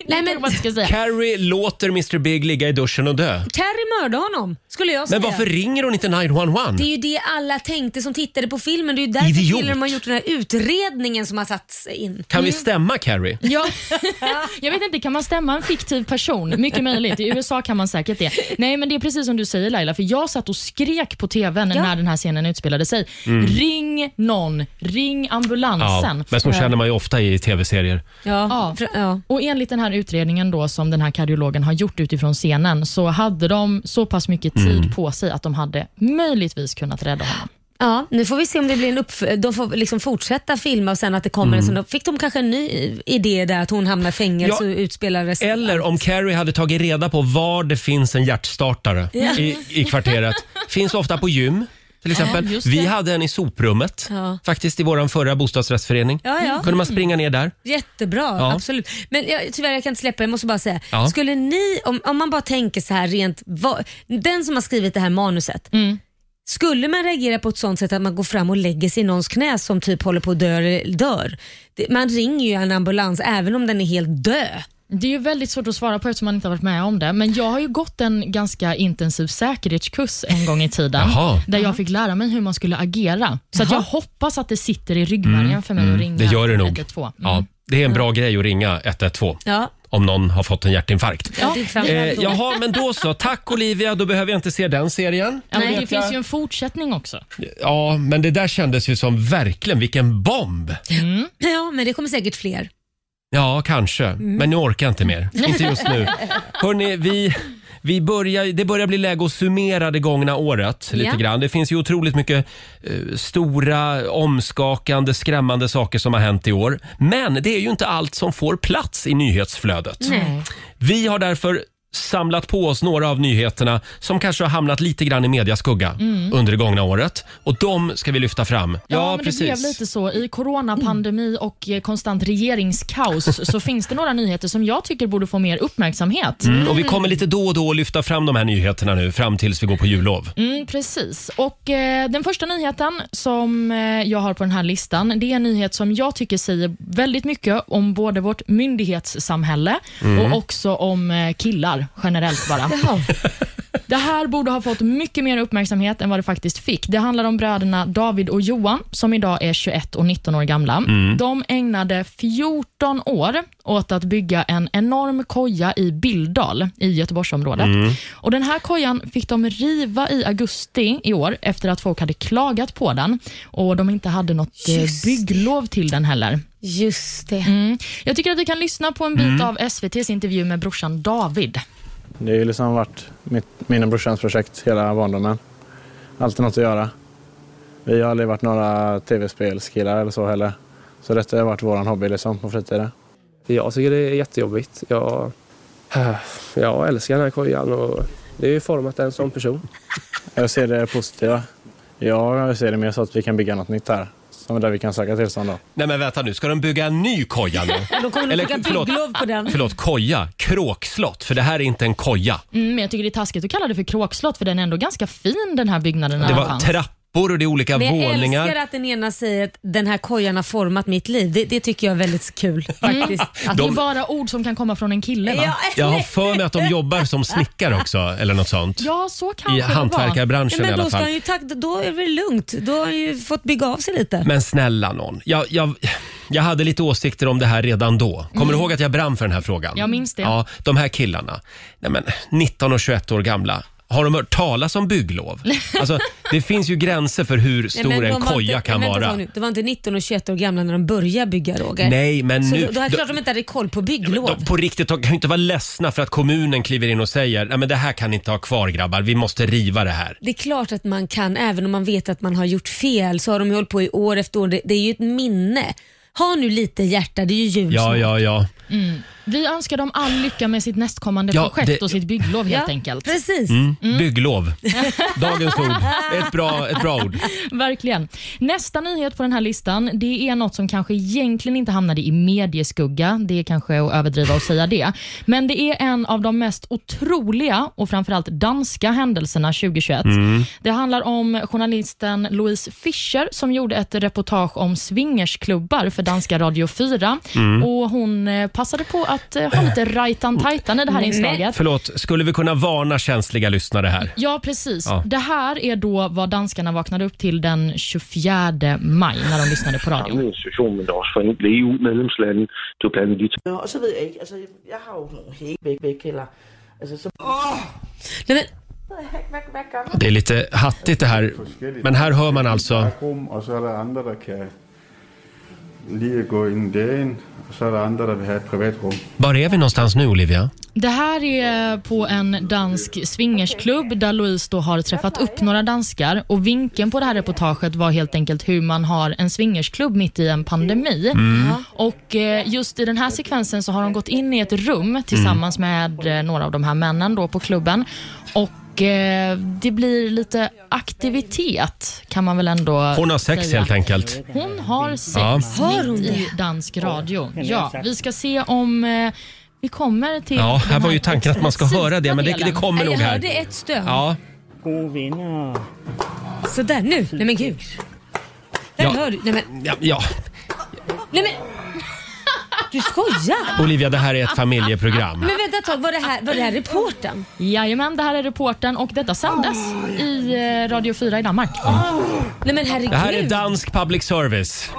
Speaker 2: Nej,
Speaker 3: men...
Speaker 2: men,
Speaker 3: vad ska jag säga.
Speaker 1: Carrie låter Mr Big ligga i duschen och dö.
Speaker 2: Carrie mördade honom, skulle jag säga.
Speaker 1: Men varför ringer hon inte 911?
Speaker 2: Det är ju det alla tänkte som tittade på filmen. Det är ju därför
Speaker 1: Idiot.
Speaker 2: filmen har gjort den här utredningen som har satts in.
Speaker 1: Kan vi stämma Carrie?
Speaker 3: Ja. *laughs* Jag vet inte, kan man stämma en fiktiv person? Mycket möjligt. I USA kan man säkert det. Nej, men det är precis som du säger Laila, för jag satt och skrek på TVn
Speaker 2: Ja.
Speaker 3: när den här scenen utspelade sig. Ring någon, ring ambulansen.
Speaker 1: Mm. Ja, men så känner man ju ofta i tv-serier.
Speaker 2: Ja.
Speaker 3: Ja.
Speaker 2: Fr- ja.
Speaker 3: Och enligt den här utredningen då som den här kardiologen har gjort utifrån scenen så hade de så pass mycket tid
Speaker 1: Mm.
Speaker 3: på sig att de hade möjligtvis kunnat rädda honom.
Speaker 2: Ja, nu får vi se om det blir en uppf- De får liksom fortsätta filma och sen att det kommer
Speaker 1: Mm.
Speaker 2: en sån. Då fick de kanske en ny idé där att hon hamnar i fängelse
Speaker 1: Ja,
Speaker 2: och utspelades.
Speaker 1: Eller om Carrie hade tagit reda på var det finns en hjärtstartare i, i kvarteret. Finns ofta på gym. Till exempel.
Speaker 3: just det.
Speaker 1: Vi hade en i soprummet,
Speaker 2: Ja.
Speaker 1: faktiskt i vår förra bostadsrättsförening.
Speaker 2: Ja, ja.
Speaker 1: kunde man springa ner
Speaker 3: Mm.
Speaker 1: där.
Speaker 2: Jättebra,
Speaker 1: Ja.
Speaker 2: absolut. Men jag, tyvärr, jag kan inte släppa Jag måste bara säga.
Speaker 1: Ja.
Speaker 2: Skulle ni, om, om man bara tänker så här rent, vad, den som har skrivit det här manuset, skulle man reagera på ett sånt sätt att man går fram och lägger sig i någons knä som typ håller på att dö, dör? Det, man ringer ju en ambulans även om den är helt död.
Speaker 3: Det är ju väldigt svårt att svara på eftersom man inte har varit med om det, men jag har ju gått en ganska intensiv säkerhetskurs en gång i tiden,
Speaker 1: Jaha.
Speaker 3: där jag fick lära mig hur man skulle agera. Så att jag hoppas att det sitter i ryggmärgen för mig att ringa
Speaker 1: Mm. Det gör det nog.
Speaker 3: 112. Mm.
Speaker 1: Ja, det är en bra grej att ringa 112
Speaker 2: Ja.
Speaker 1: om någon har fått en hjärtinfarkt.
Speaker 2: Ja, det är
Speaker 1: Eh,
Speaker 2: framförallt då.
Speaker 1: jaha, men då så. Tack Olivia, då behöver jag inte se den serien.
Speaker 3: Ja, men
Speaker 1: Vet
Speaker 3: det
Speaker 1: jag.
Speaker 3: finns ju en fortsättning också.
Speaker 1: Ja, men det där kändes ju som verkligen, vilken bomb!
Speaker 2: ja, men det kommer säkert fler.
Speaker 1: Ja, kanske.
Speaker 3: Mm.
Speaker 1: Men nu orkar jag inte mer. Inte just
Speaker 3: *laughs*
Speaker 1: nu. Hörrni, vi, vi börjar, det börjar bli läge att summera det gångna året lite
Speaker 2: Ja.
Speaker 1: grann. Det finns ju otroligt mycket eh, stora, omskakande, skrämmande saker som har hänt i år. Men det är ju inte allt som får plats i nyhetsflödet.
Speaker 2: Nej.
Speaker 1: Vi har därför samlat på oss några av nyheterna som kanske har hamnat lite grann i medias skugga under det gångna året. Och de ska vi lyfta fram.
Speaker 3: Mm. Ja, men det blev lite så. I coronapandemi och eh,
Speaker 1: *laughs*
Speaker 3: konstant regeringskaos så finns det några nyheter som jag tycker borde få mer uppmärksamhet.
Speaker 1: Mm, Och vi kommer lite då och då lyfta fram de här nyheterna nu fram tills vi går på jullov.
Speaker 3: Mm, precis. Och eh, Den första nyheten som eh, jag har på den här listan, det är en nyhet som jag tycker säger väldigt mycket om både vårt myndighetssamhälle och också om eh, killar generellt bara. Det här borde ha fått mycket mer uppmärksamhet än vad det faktiskt fick. Det handlar om bröderna David och Johan, som idag är 21 och 19 år gamla. De ägnade 14 år åt att bygga en enorm koja i Bildal i Göteborgsområdet. Och den här kojan fick de riva i augusti i år efter att folk hade klagat på den och de inte hade något eh,
Speaker 2: Just det.
Speaker 3: bygglov till den heller.
Speaker 2: Just det.
Speaker 3: Mm. Jag tycker att vi kan lyssna på en bit av SVTs intervju med brorsan David.
Speaker 7: Det har ju liksom varit mitt, min och brorsans projekt hela barndomen. Alltid något att göra. Vi har aldrig varit några tv-spelskillar eller så heller. Så detta har varit våran hobby liksom på fritiden.
Speaker 8: Jag tycker det är jättejobbigt. Jag, *sighs* jag älskar den här kojan och det är ju format en sån person.
Speaker 7: Jag ser det positiva. Jag ser det mer så att vi kan bygga något nytt här. Som där vi kan söka tillstånd då.
Speaker 1: Nej men vänta nu, ska de bygga en ny koja nu?
Speaker 2: *laughs* De kommer
Speaker 1: Eller,
Speaker 2: att plocka
Speaker 1: förlåt.
Speaker 2: bygglov på den.
Speaker 1: Förlåt, koja. Kråkslott. För det här är inte en koja.
Speaker 3: Mm, men jag tycker det är taskigt att kalla det för kråkslott, för den är ändå ganska fin den här byggnaden.
Speaker 1: *laughs*
Speaker 3: när
Speaker 1: Det
Speaker 3: den
Speaker 1: var
Speaker 3: fanns.
Speaker 1: trappor och det är olika
Speaker 2: Men jag
Speaker 1: våningar.
Speaker 2: älskar att den ena säger att den här kojan har format mitt liv. Det, det tycker jag är
Speaker 1: *laughs*
Speaker 2: väldigt kul faktiskt.
Speaker 3: att det
Speaker 1: de-
Speaker 3: är bara ord som kan komma från en kille va?
Speaker 2: Ja,
Speaker 3: Ja,
Speaker 1: Jag har för mig att de jobbar som snickare också, eller något sånt.
Speaker 3: så
Speaker 1: I
Speaker 3: kanske det var.
Speaker 1: hantverkarbranschen i
Speaker 2: men
Speaker 1: alla
Speaker 2: då, ska
Speaker 1: fall.
Speaker 2: han ju tack, då är det väl lugnt. Då har han ju fått bygga av sig lite.
Speaker 1: Men snälla någon. Jag, jag, jag hade lite åsikter om det här redan då. Kommer
Speaker 2: Mm.
Speaker 1: du ihåg att jag brann för den här frågan?
Speaker 3: Jag minns det.
Speaker 1: Ja, de här killarna. Nej, men, 19 och 21 år gamla. Har de hört talas om
Speaker 2: *laughs*
Speaker 1: bygglov? Alltså, det finns ju gränser för hur
Speaker 2: Nej,
Speaker 1: stor
Speaker 2: men de
Speaker 1: en
Speaker 2: var
Speaker 1: koja
Speaker 2: inte,
Speaker 1: kan
Speaker 2: men vänta,
Speaker 1: vara.
Speaker 2: sa ni, De var inte 19 och 21 år gamla när de började bygga Roger.
Speaker 1: Nej, men
Speaker 2: Så
Speaker 1: nu...
Speaker 2: då, då är det klart de inte hade koll på bygglov.
Speaker 1: De, på riktigt, de kan ju inte vara ledsna för att kommunen kliver in och säger Nej, men det här kan ni inte ha kvar grabbar, vi måste riva det här.
Speaker 2: Det är klart att man kan, även om man vet att man har gjort fel, så har de ju hållit på i år efter år. Det, det är ju ett minne. Ha nu lite hjärta, det är ju jul
Speaker 1: Ja,
Speaker 2: snart.
Speaker 1: ja, ja.
Speaker 3: Vi önskar dem all lycka med sitt nästkommande
Speaker 1: Ja,
Speaker 3: projekt
Speaker 1: det-
Speaker 3: och sitt bygglov helt
Speaker 2: Ja,
Speaker 3: enkelt.
Speaker 2: Precis.
Speaker 1: Mm. Bygglov.
Speaker 2: Mm.
Speaker 1: Dagens ord. Ett bra, ett bra ord.
Speaker 3: *laughs* Verkligen. Nästa nyhet på den här listan, det är något som kanske egentligen inte hamnade i medieskugga. Det är kanske att överdriva att säga det. Men det är en av de mest otroliga och framförallt danska händelserna 2021. Det handlar om journalisten Louise Fischer som gjorde ett reportage om swingersklubbar för danska Radio 4. Och hon eh, passade på att eh, ha lite rajtan-tajtan i det här inslaget.
Speaker 1: Förlåt, skulle vi kunna varna känsliga lyssnare här?
Speaker 3: Ja, precis.
Speaker 1: Ja.
Speaker 3: Det här är då vad danskarna vaknade upp till den 24 maj när de lyssnade på radion.
Speaker 9: samme institution, men der er også for enkelte EU-medlemslande. Det var blandt andet de
Speaker 10: Nå, og så ved jeg ikke, altså, jeg har jo nogle hæk væk, eller... Altså, så...
Speaker 2: Nej, men,
Speaker 1: Det är lite hattigt det här. Men här hör man alltså...
Speaker 7: Rum och så är det andra som kan lige gå in dagen och så är det andra som vill ha ett privatrum.
Speaker 1: Var är vi någonstans nu Olivia?
Speaker 3: Det här är på en dansk swingersklubb där Louise då har träffat upp några danskar och vinkeln på det här reportaget var helt enkelt hur man har en swingersklubb mitt i en pandemi.
Speaker 1: Mm.
Speaker 3: Och eh, just i den här sekvensen så har de gått in i ett rum tillsammans
Speaker 1: Mm.
Speaker 3: med eh, några av de här männen då på klubben och eh, det blir lite aktivitet kan man väl ändå
Speaker 1: Hon har sex
Speaker 3: säga.
Speaker 1: helt enkelt.
Speaker 3: Hon har sex
Speaker 1: Ja.
Speaker 2: Har hon
Speaker 3: mitt i dansk radio. Ja, vi ska se om eh, vi kommer till...
Speaker 1: Ja,
Speaker 3: den
Speaker 1: här var ju tanken att man ska
Speaker 3: sista
Speaker 1: höra det, men det, det
Speaker 3: delen.
Speaker 1: kommer
Speaker 2: jag
Speaker 1: nog
Speaker 2: hörde
Speaker 1: här.
Speaker 2: ett stön.
Speaker 1: Ja,
Speaker 2: Sådär, nu. Nej men gud. Där
Speaker 1: Ja.
Speaker 2: hör du. Nej men,
Speaker 1: ja, ja.
Speaker 2: nej
Speaker 3: *laughs*
Speaker 2: men. Du skojar?
Speaker 1: Olivia, det här är ett familjeprogram.
Speaker 2: Men vänta ett tag, var det här, var det här reportern?
Speaker 3: Jajamän, det här är reporten och detta sändes i eh, Radio 4 i Danmark.
Speaker 2: Nej men herregud.
Speaker 1: Det här är dansk public service.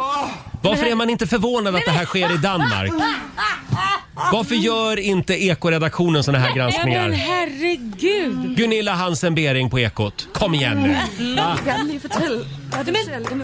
Speaker 1: Varför är man inte förvånad att det här sker i Danmark? Varför gör inte Ekoredaktionen såna här
Speaker 2: Nej men
Speaker 1: granskningar?
Speaker 2: herregud.
Speaker 1: Gunilla Hansen Bering på Ekot. Kom igen nu.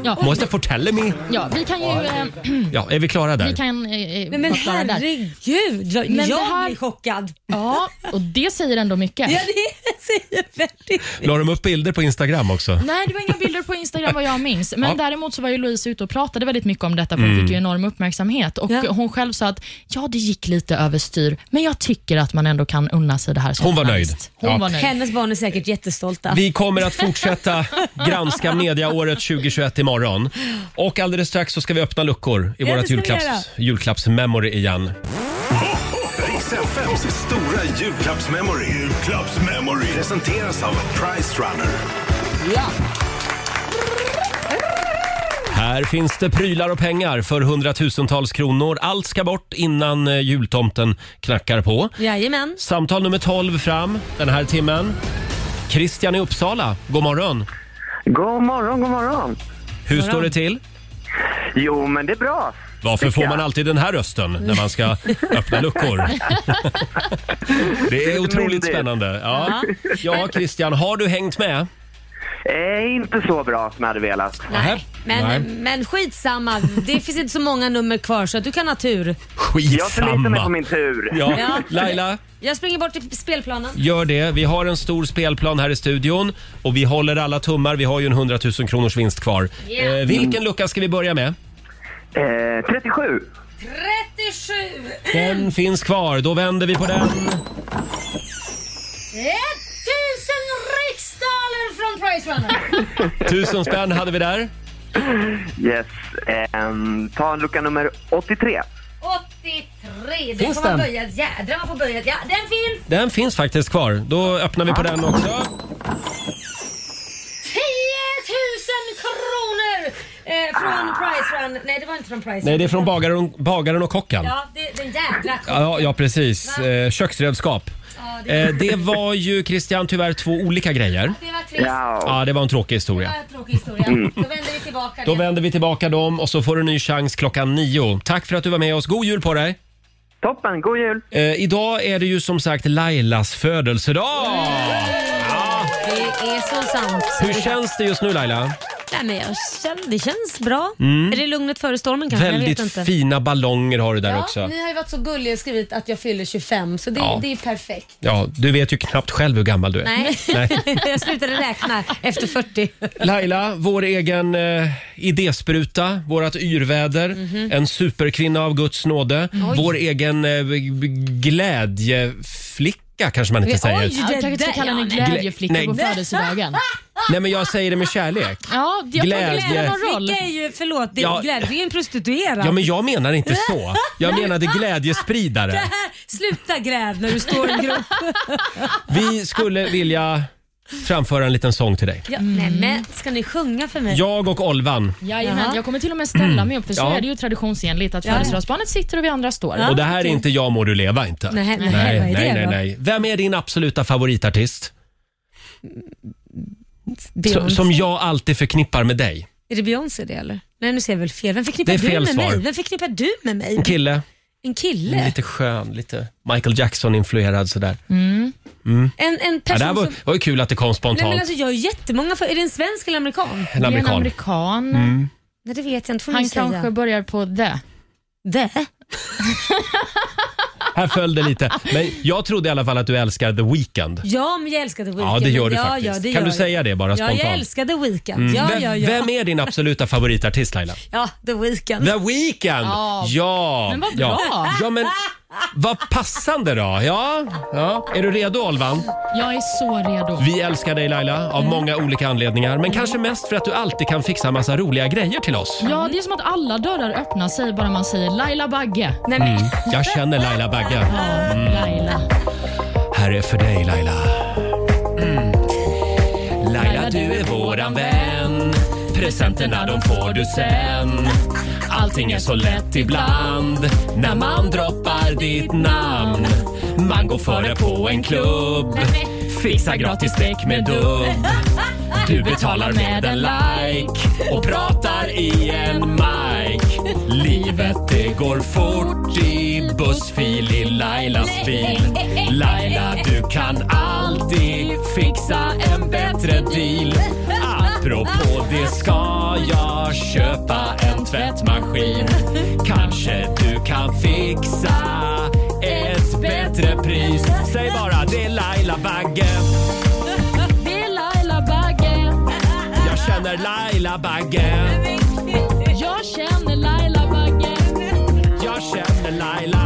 Speaker 3: Ja,
Speaker 1: Måste fortälla mig.
Speaker 3: ja, vi kan ju... Eh,
Speaker 1: Ja, är vi klara
Speaker 3: vi
Speaker 1: där?
Speaker 3: kan, eh,
Speaker 2: Nej men
Speaker 3: förklara där.
Speaker 2: herregud. Jag,
Speaker 3: Men det
Speaker 2: jag
Speaker 3: här-
Speaker 2: blir chockad.
Speaker 3: Ja, och det säger ändå mycket.
Speaker 2: Ja det säger väldigt
Speaker 1: La de upp bilder på Instagram också?
Speaker 3: Nej, det var inga bilder på Instagram vad jag minns. Men
Speaker 1: Ja. Mm.
Speaker 3: däremot så var ju Louise ute och pratade väldigt mycket om detta, för hon fick ju enorm uppmärksamhet. Och
Speaker 2: Ja.
Speaker 3: Hon själv sa att ja, det gick lite överstyr, men jag tycker att man ändå kan unna sig det här. som
Speaker 1: Hon var
Speaker 3: journalist."
Speaker 1: nöjd.
Speaker 3: Hon
Speaker 1: Ja.
Speaker 3: var nöjd.
Speaker 2: Hennes barn är säkert jättestolta.
Speaker 1: Vi kommer att fortsätta granska mediaåret 2021 imorgon. Och alldeles strax så ska vi öppna luckor i
Speaker 2: det
Speaker 1: vårt
Speaker 2: ska vi
Speaker 1: julklapps, julklappsmemory igen.
Speaker 4: Riks FMs stora julklappsmemory. Julklappsmemory. Presenteras av Price Runner.
Speaker 1: Här finns det prylar och pengar för hundratusentals kronor. Allt ska bort innan eh, jultomten knackar på.
Speaker 2: Jajamän.
Speaker 1: Samtal nummer 12 fram den här timmen. Christian i Uppsala, god morgon.
Speaker 11: God morgon, god morgon.
Speaker 1: Hur står det till?
Speaker 11: Jo, men det är bra.
Speaker 1: Varför
Speaker 11: tycker
Speaker 1: får
Speaker 11: jag.
Speaker 1: man alltid den här rösten när man ska
Speaker 11: *laughs*
Speaker 1: öppna luckor? Det är otroligt spännande. Ja. ja, Christian, har du hängt med?
Speaker 11: Eh, inte så bra som jag hade velat.
Speaker 1: Nej.
Speaker 2: Men, men skitsamma, det finns inte så många nummer kvar så att du kan ha tur.
Speaker 1: Skitsamma.
Speaker 11: Jag förlitar mig på min tur.
Speaker 1: Ja. Laila?
Speaker 2: Jag springer bort till spelplanen.
Speaker 1: Gör det. Vi har en stor spelplan här i studion och vi håller alla tummar. Vi har ju en 100 000 kronors vinst kvar.
Speaker 2: Yeah.
Speaker 1: Eh, vilken lucka ska vi börja med?
Speaker 11: 37.
Speaker 2: 37!
Speaker 1: Den finns kvar. Då vänder vi på den.
Speaker 2: 1000 riksdaler från Pricerunner!
Speaker 1: Tusen spänn hade vi där.
Speaker 11: Yes. ehm, ta en lucka nummer 83.
Speaker 2: 83, den
Speaker 11: Finns
Speaker 2: får man
Speaker 11: den?
Speaker 2: böja. Jädrar man får böja. Ja, den finns!
Speaker 1: Den finns faktiskt kvar. Då öppnar vi på den också.
Speaker 2: 10 000 kronor eh, från
Speaker 1: Ah.
Speaker 2: Pricerunner. Nej, det var inte från Pricerunner.
Speaker 1: Nej, det är från bagaren, bagaren och kocken.
Speaker 2: Ja, det, den jädra kocken.
Speaker 1: Ja, ja precis. Eh, köksredskap.
Speaker 2: Ja, det-
Speaker 1: Eh, det var ju Christian tyvärr två olika grejer.
Speaker 2: Det var trist.
Speaker 1: Ja, det var en tråkig
Speaker 2: Det
Speaker 1: historia.
Speaker 2: var en tråkig historia.
Speaker 1: Mm.
Speaker 2: Då vänder vi tillbaka
Speaker 1: Då
Speaker 2: det.
Speaker 1: vänder vi tillbaka dem och så får du en ny chans klockan nio. Tack för att du var med oss. God jul på dig!
Speaker 11: Toppen, god jul!
Speaker 1: Eh, idag är det ju som sagt Lailas födelsedag!
Speaker 2: Det är så sant.
Speaker 1: Hur känns det just nu Laila?
Speaker 2: Nej, men jag känner, det känns bra.
Speaker 1: Mm.
Speaker 2: Är det lugnet före stormen kanske? jag vet
Speaker 1: Väldigt
Speaker 2: inte.
Speaker 1: fina ballonger har du där
Speaker 2: ja,
Speaker 1: också.
Speaker 2: Ni har ju varit så gulliga och skrivit att jag fyller 25, så det,
Speaker 1: Ja.
Speaker 2: det är perfekt.
Speaker 1: Ja, du vet ju knappt själv hur gammal du är.
Speaker 2: Nej, *laughs* jag slutade räkna efter 40.
Speaker 1: Laila, vår egen eh, idéspruta, vårat yrväder,
Speaker 2: Mhm.
Speaker 1: en superkvinna av Guds nåde,
Speaker 2: Oj.
Speaker 1: vår egen eh, g- glädjeflicka kanske man inte säger.
Speaker 3: Oj, det kanske ska kalla henne
Speaker 1: nej.
Speaker 3: glädjeflicka
Speaker 1: Nej.
Speaker 3: på *laughs* födelsedagen.
Speaker 1: Nej men jag säger det med kärlek.
Speaker 3: Ja,
Speaker 1: jag tror Glädje. det spelar någon roll.
Speaker 2: Flicka är ju, förlåt, det är,
Speaker 1: Ja.
Speaker 2: glädje, det är ju en prostituerad.
Speaker 1: Ja men jag menar inte så. Jag menade
Speaker 2: det
Speaker 1: glädjespridare.
Speaker 2: här, *laughs* sluta gräv när du står i en grop.
Speaker 1: Vi skulle vilja framföra en liten sång till dig.
Speaker 2: Ja, Nej
Speaker 1: Mm.
Speaker 2: men, ska ni sjunga för mig?
Speaker 1: Jag och Olvan.
Speaker 3: Jajamän, jag kommer till och med ställa mig upp för så
Speaker 1: Ja.
Speaker 3: är det ju traditionsenligt att
Speaker 2: Ja.
Speaker 3: födelsedagsbarnet sitter och vi andra står.
Speaker 1: Och det här är inte Jag må du leva inte.
Speaker 3: Ah, Nej, nej, vad
Speaker 1: nej,
Speaker 3: är det
Speaker 1: nej, nej,
Speaker 3: då?
Speaker 1: nej. Vem är din absoluta favoritartist? Som,
Speaker 2: Beyoncé.
Speaker 1: som jag alltid förknippar med dig.
Speaker 2: Är det Beyoncé det eller? Nej nu ser jag väl fel. Vem förknippar
Speaker 1: Det är fel
Speaker 2: du med
Speaker 1: svar. Mm.
Speaker 2: mig? Vem förknippar du med mig?
Speaker 1: En kille.
Speaker 2: En kille?
Speaker 1: Lite skön, lite Michael Jackson-influerad sådär.
Speaker 2: Mm.
Speaker 1: Mm.
Speaker 2: En, en
Speaker 1: Ja, det
Speaker 2: person
Speaker 1: här var,
Speaker 2: som...
Speaker 1: var ju kul att det kom
Speaker 2: Nej,
Speaker 1: spontant.
Speaker 2: men alltså, jag har jättemånga för... Är det en svensk eller amerikan?
Speaker 1: En amerikan.
Speaker 3: amerikan.
Speaker 1: Mm.
Speaker 2: Nej, det vet jag inte. Får
Speaker 3: Han
Speaker 2: ni säga.
Speaker 3: kanske börjar på det.
Speaker 2: Det?
Speaker 1: Här föll det
Speaker 2: *laughs*
Speaker 1: lite. Men jag trodde i alla fall att du älskar The Weeknd.
Speaker 2: Ja, men jag älskar The Weeknd.
Speaker 1: Ja, det gör du
Speaker 2: ja,
Speaker 1: faktiskt.
Speaker 2: Ja, det
Speaker 1: Kan
Speaker 2: gör
Speaker 1: du
Speaker 2: jag.
Speaker 1: säga det bara
Speaker 2: Ja, jag
Speaker 1: spontant?
Speaker 2: älskar The Weeknd.
Speaker 1: Mm.
Speaker 2: Ja,
Speaker 1: vem,
Speaker 2: ja, ja.
Speaker 1: vem är din absoluta favoritartist Laila?
Speaker 2: Ja, The Weeknd.
Speaker 1: The Weeknd!
Speaker 2: Ja.
Speaker 1: Ja!
Speaker 2: Men vad
Speaker 1: Ja.
Speaker 2: bra.
Speaker 1: ja men vad passande då. Ja. ja. Är du redo Olvan?
Speaker 3: Jag är så redo.
Speaker 1: Vi älskar dig Laila av många olika anledningar men kanske mest för att du alltid kan fixa massa roliga grejer till oss.
Speaker 3: Ja, det är som att alla dörrar öppnar sig bara man säger Laila Bagge. Nej,
Speaker 1: Mm. Jag känner Laila Bagge. Mm.
Speaker 3: Laila.
Speaker 1: Här är för dig Laila. Mm. Laila du är våran vän. Presenterna de får du sen. Allting är så lätt ibland när man droppar ditt namn. Man går före på en klubb. Fixar gratis däck med dubb. Du betalar med en like och pratar i en mic. Livet det går fort i bussfil i Lailas bil. Laila du kan alltid fixa en bättre deal. Apropå det ska jag köpa en tvättmaskin. Kanske du kan fixa ett bättre pris. Säg bara det är Laila Bagge.
Speaker 3: Det är Laila Bagge.
Speaker 1: Jag känner Laila Bagge.
Speaker 3: Jag känner Laila Bagge.
Speaker 1: Jag känner Laila.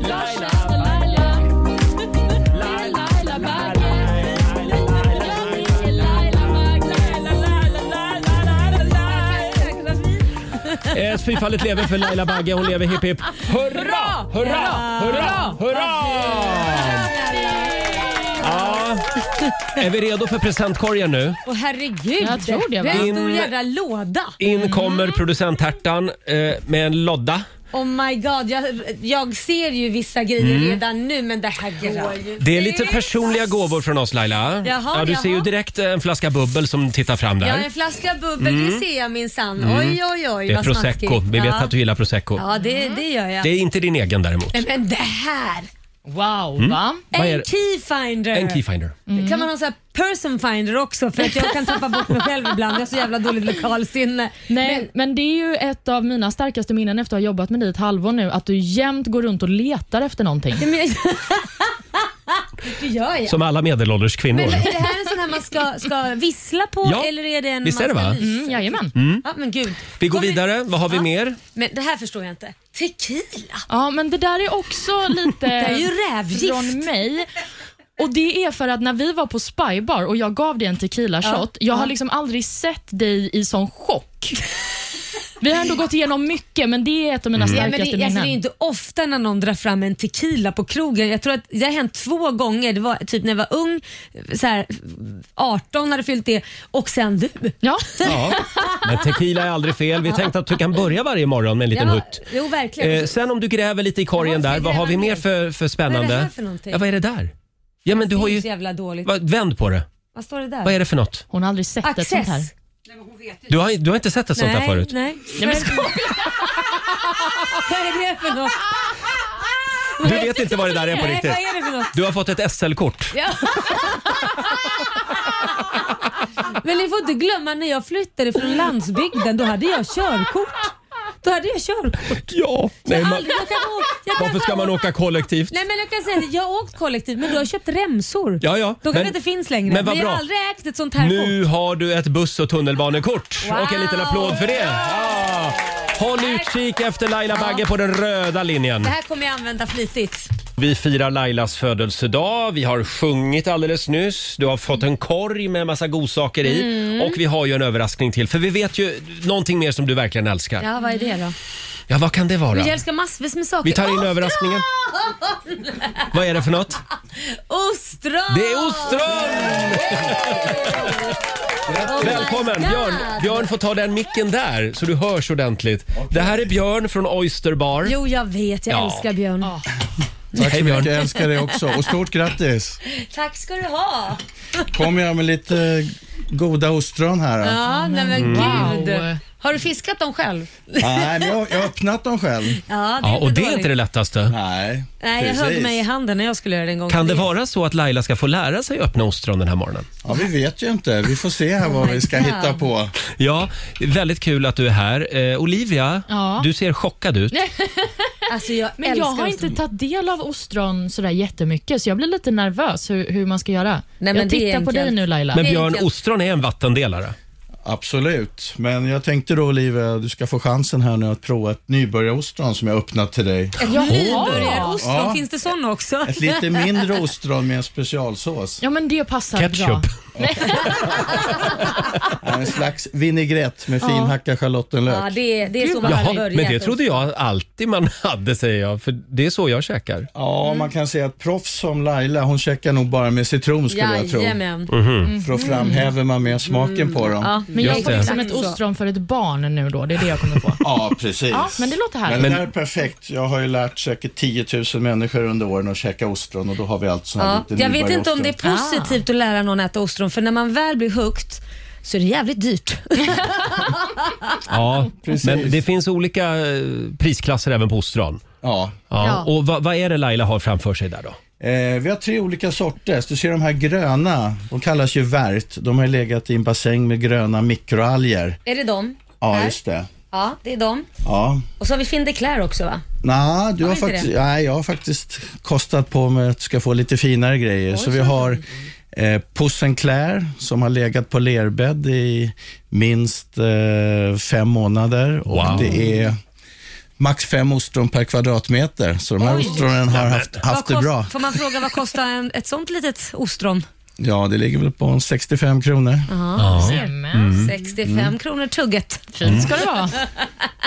Speaker 1: Laila
Speaker 3: Laila.
Speaker 1: Laila.
Speaker 3: Laila Bagge. Jag ringer Laila Bagge.
Speaker 1: Ett Eh, fyrfaldigt leve för Laila Bagge. Hon lever hipp hipp. Hurra, hurra, hurra, hurra! Ja. Är vi redo för presentkorgen nu?
Speaker 2: Åh herregud.
Speaker 3: Jag tror det,
Speaker 2: Det
Speaker 3: va?
Speaker 2: är en
Speaker 1: In-
Speaker 2: stor jädra låda.
Speaker 1: In kommer producent Hertan eh, med en lodda.
Speaker 2: Oh my god, jag, jag ser ju vissa grejer
Speaker 1: Mm.
Speaker 2: redan nu men det här går ju.
Speaker 1: Det är lite personliga gåvor från oss Laila.
Speaker 2: Jaha,
Speaker 1: ja, du ser ju
Speaker 2: jaha.
Speaker 1: direkt eh, en flaska bubbel som tittar fram
Speaker 2: Ja,
Speaker 1: där.
Speaker 2: en flaska bubbel,
Speaker 1: Mm.
Speaker 2: det ser jag minsann.
Speaker 1: Mm.
Speaker 2: Oj, oj, oj.
Speaker 1: Det är
Speaker 2: vad
Speaker 1: prosecco.
Speaker 2: smaskigt.
Speaker 1: Vi vet
Speaker 2: ja.
Speaker 1: att du gillar prosecco.
Speaker 2: Ja, det,
Speaker 3: Mm.
Speaker 2: det gör jag.
Speaker 1: Det är inte din egen däremot.
Speaker 2: Men- Men det här!
Speaker 3: Wow,
Speaker 1: Mm.
Speaker 3: va?
Speaker 1: Vad är
Speaker 2: En
Speaker 1: det?
Speaker 2: keyfinder.
Speaker 1: En keyfinder.
Speaker 3: Mm.
Speaker 2: Kan man ha så här person finder också för att jag kan tappa bort mig själv ibland. Jag har så jävla dåligt lokalsinne.
Speaker 3: Nej, men, det är ju ett av mina starkaste minnen efter att ha jobbat med dig ett halvår nu, att du jämt går runt och letar efter någonting.
Speaker 2: *laughs* Det gör jag.
Speaker 1: Som alla medelålders
Speaker 2: men
Speaker 1: kvinnor.
Speaker 2: är det här en sån här man ska, ska vissla på
Speaker 1: Ja,
Speaker 2: eller är det en
Speaker 1: visst är det,
Speaker 2: man ska
Speaker 1: va?
Speaker 2: lysa?
Speaker 1: Mm,
Speaker 3: jajamän.
Speaker 1: Mm.
Speaker 2: Ja, men gud.
Speaker 1: Vi går vidare. Vad har vi mer?
Speaker 2: Men det här förstår jag inte. Tequila?
Speaker 3: Ja, men det där är
Speaker 2: *laughs*
Speaker 3: också
Speaker 2: Det
Speaker 3: lite
Speaker 2: är ju rävgift.
Speaker 3: från mig. Och Det är för att när vi var på Spybar och jag gav dig en tequila
Speaker 2: Ja.
Speaker 3: shot, jag har
Speaker 2: Ja.
Speaker 3: liksom aldrig sett dig i sån chock. Vi har ändå gått igenom mycket, men det är ett av mina
Speaker 2: Ja, men det,
Speaker 3: starkaste
Speaker 2: alltså, det
Speaker 3: minnen.
Speaker 2: är inte ofta när någon drar fram en tequila på krogen. Jag tror att det har hänt två gånger. Det var typ när jag var ung, så här, 18 hade fyllt det och sen du.
Speaker 3: Ja.
Speaker 1: Ja, men tequila är aldrig fel. Vi tänkte att du kan börja varje morgon med en liten hutt.
Speaker 2: Jo, verkligen. Alltså,
Speaker 1: Eh, sen om du gräver lite i korgen där, vad har vi mer för, för spännande?
Speaker 2: Vad är det här för någonting?
Speaker 1: Ja, vad är det där? Ja, men du har
Speaker 2: Det är
Speaker 1: ju...
Speaker 2: så jävla dåligt.
Speaker 1: Va, vänd på det.
Speaker 2: Vad står det där?
Speaker 1: Vad är det för något?
Speaker 3: Hon har aldrig sett
Speaker 2: Access.
Speaker 3: ett sånt här.
Speaker 1: Du har, du har inte sett ett sånt här
Speaker 2: Nej,
Speaker 1: förut?
Speaker 2: Nej.
Speaker 3: Ja,
Speaker 2: *laughs*
Speaker 3: men
Speaker 2: Vad är det för något?
Speaker 1: Du vet inte vad det där är på
Speaker 2: Nej,
Speaker 1: riktigt?
Speaker 2: vad är det för något?
Speaker 1: Du har fått ett SL-kort.
Speaker 2: Ja. Men ni får inte glömma när jag flyttade från landsbygden, då hade jag körkort. Då hade jag körkort.
Speaker 1: Ja. Nej,
Speaker 2: jag har
Speaker 1: man-
Speaker 2: aldrig, jag kan, å- jag kan
Speaker 1: Varför ska man åka kollektivt?
Speaker 2: Nej men jag kan säga det, jag har åkt kollektivt men du har köpt remsor.
Speaker 1: Ja, ja,
Speaker 2: De kanske
Speaker 1: men-
Speaker 2: inte finns längre.
Speaker 1: men vad
Speaker 2: jag har
Speaker 1: bra.
Speaker 2: aldrig ägt ett sånt här kort.
Speaker 1: Nu har du ett buss och tunnelbanekort
Speaker 2: Wow.
Speaker 1: och en liten applåd för det. Ah. Håll utkik efter Laila Bagge på den röda linjen.
Speaker 2: Det här kommer jag använda flitigt.
Speaker 1: Vi firar Lailas födelsedag. Vi har sjungit alldeles nyss. Du har fått en korg med massa godsaker i.
Speaker 2: Mm.
Speaker 1: Och vi har ju en överraskning till. För vi vet ju någonting mer som du verkligen älskar. Ja,
Speaker 2: Ja, vad är det
Speaker 3: Mm.
Speaker 2: då?
Speaker 1: vad kan det vara?
Speaker 2: Men jag älskar massvis med saker.
Speaker 1: Vi tar in
Speaker 2: Ostron!
Speaker 1: överraskningen. Vad är det för något?
Speaker 2: Ostron!
Speaker 1: Det är
Speaker 2: Oh
Speaker 1: ostron! Välkommen! Björn, Björn får ta den micken där så du hörs ordentligt. Det här är Björn från Oyster Bar.
Speaker 2: Jo, jag vet. Jag
Speaker 1: Ja.
Speaker 2: älskar Björn.
Speaker 12: Tack
Speaker 1: Hej,
Speaker 12: så
Speaker 1: Björn.
Speaker 12: mycket, jag älskar dig också. Och stort grattis!
Speaker 2: Tack ska du ha.
Speaker 12: Kom jag med lite goda ostron här.
Speaker 2: Ja, nej men
Speaker 12: Mm.
Speaker 2: gud. Har du fiskat dem själv?
Speaker 12: Nej, men jag jag har öppnat dem själv.
Speaker 2: Ja, det är inte dåligt.
Speaker 1: lättaste.
Speaker 12: Nej.
Speaker 2: Nej, jag högg
Speaker 12: Precis.
Speaker 2: mig i handen när jag skulle göra det en gång.
Speaker 1: Kan det vara så att Laila ska få lära sig öppna ostron den här morgonen?
Speaker 12: Ja, vi vet ju inte. Vi får se här vad vi ska
Speaker 2: God.
Speaker 12: hitta på.
Speaker 1: Ja, väldigt kul att du är här. Eh, Olivia,
Speaker 3: Ja.
Speaker 1: du ser chockad ut.
Speaker 2: Alltså, jag
Speaker 3: men jag
Speaker 2: älskar
Speaker 3: har inte
Speaker 2: ostron.
Speaker 3: tagit del av ostron sådär jättemycket, så jag blir lite nervös hur, hur man ska göra.
Speaker 2: men
Speaker 3: jag
Speaker 2: det är
Speaker 3: tittar på
Speaker 2: enkelt.
Speaker 3: dig nu Laila.
Speaker 1: Men Björn, ostron är en vattendelare.
Speaker 12: Absolut, men jag tänkte då Olivia, du ska få chansen här nu att prova ett nybörjarostron som jag har öppnat till dig.
Speaker 2: Ett nybörjarostron,
Speaker 12: Ja.
Speaker 2: finns det sådana också?
Speaker 12: Ett lite mindre ostron med en specialsås.
Speaker 3: Ja, men det passar bra.
Speaker 12: Ketchup. En slags vinägrett med finhackad schalottenlök.
Speaker 2: Ja, det är, det är så man
Speaker 1: Jaha,
Speaker 2: hade
Speaker 1: men
Speaker 2: börjat.
Speaker 1: det trodde jag alltid man *laughs* hade, säger jag. För det är så jag käkar.
Speaker 12: Ja, man
Speaker 2: Mm.
Speaker 12: kan säga att proffs som Laila, hon käkar nog bara med citron skulle
Speaker 2: Jajamän. Mm.
Speaker 12: jag tro. För då framhäver man mer smaken på dem.
Speaker 3: Ja, men jag får liksom ett
Speaker 2: Alltså.
Speaker 3: ostron för ett barn nu då, det är det jag kommer få.
Speaker 12: Ja, precis.
Speaker 3: Ja, men det låter härligt.
Speaker 12: Men det där är perfekt. Jag har ju lärt säkert 10 000 människor under åren att käka ostron och då har vi allt sånt här
Speaker 2: Ja,
Speaker 12: lite
Speaker 2: jag vet inte om
Speaker 12: nybörjarostron.
Speaker 2: det är positivt att lära någon äta ostron, för när man väl blir hooked så är det jävligt dyrt.
Speaker 1: Ja,
Speaker 12: Precis.
Speaker 1: men det finns olika eh, prisklasser även på ostron.
Speaker 12: Ja.
Speaker 1: ja.
Speaker 12: Ja.
Speaker 1: Och vad, vad är det Laila har framför sig där då?
Speaker 12: Eh, vi har tre olika sorter. Så Du ser de här gröna, de kallas ju värt. De har legat i en bassäng med gröna mikroalger.
Speaker 2: *laughs* är det dem?
Speaker 12: Ja,
Speaker 2: Här?
Speaker 12: just det.
Speaker 2: Ja, det är dem.
Speaker 12: Ja.
Speaker 2: Och så har vi Finn de Clare också va?
Speaker 12: Nej, du
Speaker 2: Har
Speaker 12: har
Speaker 2: vi inte
Speaker 12: faktiskt,
Speaker 2: det?
Speaker 12: nej, jag har faktiskt kostat på mig att ska få lite finare grejer. så vi har eh, Pussen Claire som har legat på lerbädd i minst eh, fem månader.
Speaker 1: Wow.
Speaker 12: Och det är max fem ostron per kvadratmeter. Så de här ostronen har haft, haft det
Speaker 2: Vad kost-
Speaker 12: bra.
Speaker 2: Får man fråga vad kostar en, ett sånt litet ostron?
Speaker 12: Ja, det ligger väl på en 65 kronor.
Speaker 2: Ja, du ser.
Speaker 1: Mm.
Speaker 2: 65
Speaker 1: Mm.
Speaker 2: kronor tugget.
Speaker 12: Mm.
Speaker 1: Fint ska
Speaker 2: det vara.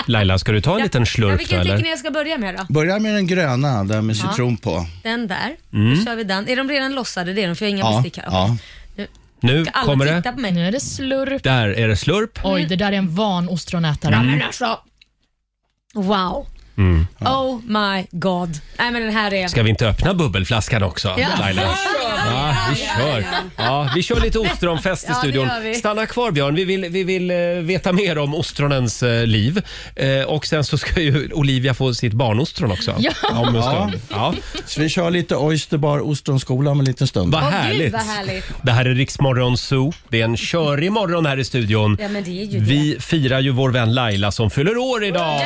Speaker 1: Laila, ska du ta en liten
Speaker 2: Ja,
Speaker 1: slurk då
Speaker 2: vilken tycker ni
Speaker 1: eller?
Speaker 2: jag ska börja med då?
Speaker 12: Börja med den gröna, där med
Speaker 2: Ja.
Speaker 12: citron på.
Speaker 2: Den där.
Speaker 1: Mm.
Speaker 2: Då kör vi den. Är de redan lossade? Det är de, för jag har inga
Speaker 12: Ja,
Speaker 2: bestick här.
Speaker 12: ja.
Speaker 1: Nu
Speaker 2: Ska alla
Speaker 1: kommer det.
Speaker 2: titta på mig? Nu
Speaker 3: är det slurp.
Speaker 1: Där är det slurp.
Speaker 12: Mm.
Speaker 3: Oj, det där är en van ostronätare.
Speaker 1: Mm.
Speaker 2: Alltså, wow. Oh my god. Nej men den här är...
Speaker 1: Ska vi inte öppna bubbelflaskan också,
Speaker 2: Ja.
Speaker 1: Laila? Ja, vi kör. Ja, vi kör lite ostronfest i
Speaker 2: Ja, det
Speaker 1: studion.
Speaker 2: gör vi.
Speaker 1: Stanna kvar Björn, vi vill, vi vill eh, veta mer om ostronens eh, liv. Eh, och sen så ska ju Olivia få sitt barnostron också.
Speaker 2: Ja.
Speaker 1: Om en stund. Ja.
Speaker 12: Så vi kör lite Oysterbar ostronskola om en liten stund.
Speaker 1: Vad härligt.
Speaker 2: vad härligt.
Speaker 1: Det här är Riksmorgon Zoo. Det är en körig morgon här i studion.
Speaker 2: Ja men det är ju det.
Speaker 1: Vi firar ju vår vän Laila som fyller år idag.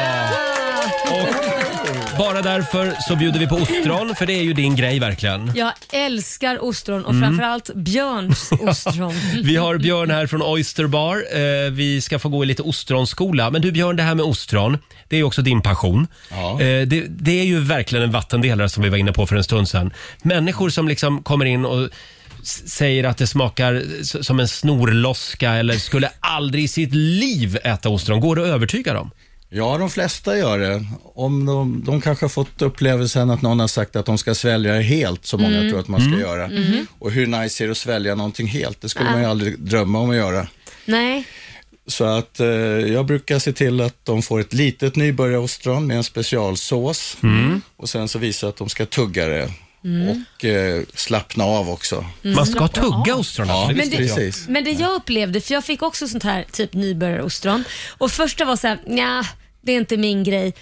Speaker 1: Bara därför så bjuder vi på ostron, för det är ju din grej verkligen.
Speaker 2: Jag älskar ostron och
Speaker 1: Mm.
Speaker 2: framförallt Björns
Speaker 1: *laughs*
Speaker 2: ostron.
Speaker 1: Vi har Björn här från Oyster Bar. Eh, vi ska få gå i lite ostronskola. Men du Björn, det här med ostron, det är ju också din passion. Eh, det, det är ju verkligen en vattendelare som vi var inne på för en stund sedan. Människor som liksom kommer in och s- säger att det smakar s- som en snorloska eller skulle aldrig i sitt liv äta ostron. Går det att övertyga dem?
Speaker 12: Ja, de flesta gör det. Om de, de kanske har fått upplevelsen att någon har sagt att de ska svälja det helt, som många
Speaker 13: Mm.
Speaker 12: tror att man ska
Speaker 13: Mm.
Speaker 12: göra.
Speaker 13: Mhm.
Speaker 12: Och hur nice är det att svälja någonting helt? Det skulle
Speaker 2: Ah.
Speaker 12: man ju aldrig drömma om att göra.
Speaker 2: Nej.
Speaker 12: Så att eh, jag brukar se till att de får ett litet nybörjarostron med en specialsås.
Speaker 13: Mm.
Speaker 12: Och sen så visa att de ska tugga det
Speaker 2: Mm.
Speaker 12: och eh, slappna av också.
Speaker 2: Mm. Man ska tugga
Speaker 1: ostron
Speaker 12: Ja,
Speaker 2: men, det,
Speaker 12: precis.
Speaker 2: men det jag upplevde, för jag fick också sånt här typ nybörjarostron och första var så här, nja, det är inte min grej.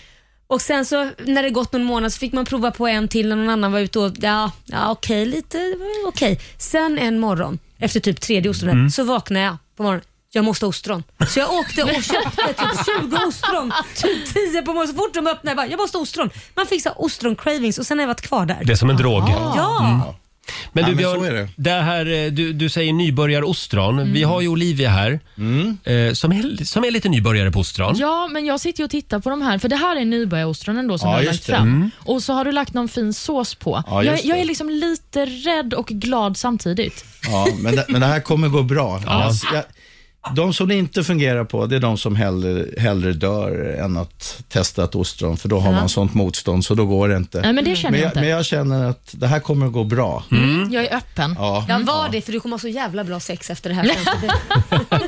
Speaker 2: Och sen så när det gått någon månad så fick man prova på en till när någon annan var ute och ja, ja okej lite, det var okej. Sen en morgon, efter typ tredje ostronet,
Speaker 14: Mm.
Speaker 2: så vaknade jag på morgonen. Jag måste ha ostron. Så jag åkte och köpte typ 20 ostron, typ 10 på morgonen. Så fort de öppnade, jag bara, jag måste ha ostron. Man fick så här ostron-cravings och sen har jag varit kvar där.
Speaker 1: Det är som en drog.
Speaker 2: Ja.
Speaker 1: Mm. Men du
Speaker 12: Nej, men
Speaker 1: Björn,
Speaker 12: så är
Speaker 1: det.
Speaker 12: det.
Speaker 1: här, eh, du, du säger nybörjarostron.
Speaker 3: Mm.
Speaker 1: Vi har ju Olivia här
Speaker 12: Mm.
Speaker 1: eh, som, är, som är lite nybörjare på ostron.
Speaker 3: Ja, men jag sitter ju och tittar på de här, för det här är nybörjarostronen då som
Speaker 1: Ja,
Speaker 3: du har
Speaker 1: just
Speaker 3: lagt
Speaker 1: det.
Speaker 3: fram.
Speaker 1: Mm.
Speaker 3: Och så har du lagt någon fin sås på.
Speaker 12: Ja,
Speaker 3: jag,
Speaker 12: just
Speaker 3: jag
Speaker 12: det.
Speaker 3: är liksom lite rädd och glad samtidigt.
Speaker 12: Ja, men det, men det här kommer gå bra. Alltså, jag, de som det inte fungerar på, det är de som hellre, hellre dör än att testa ett ostron, för då har
Speaker 3: Ja.
Speaker 12: man sånt motstånd, så då går det inte.
Speaker 3: Nej, men det känner jag inte.
Speaker 12: Mm. Men jag känner att det här kommer att gå bra.
Speaker 3: Jag är öppen.
Speaker 12: Ja.
Speaker 2: Jag var det för du kommer ha så jävla bra sex efter det här.
Speaker 3: *laughs*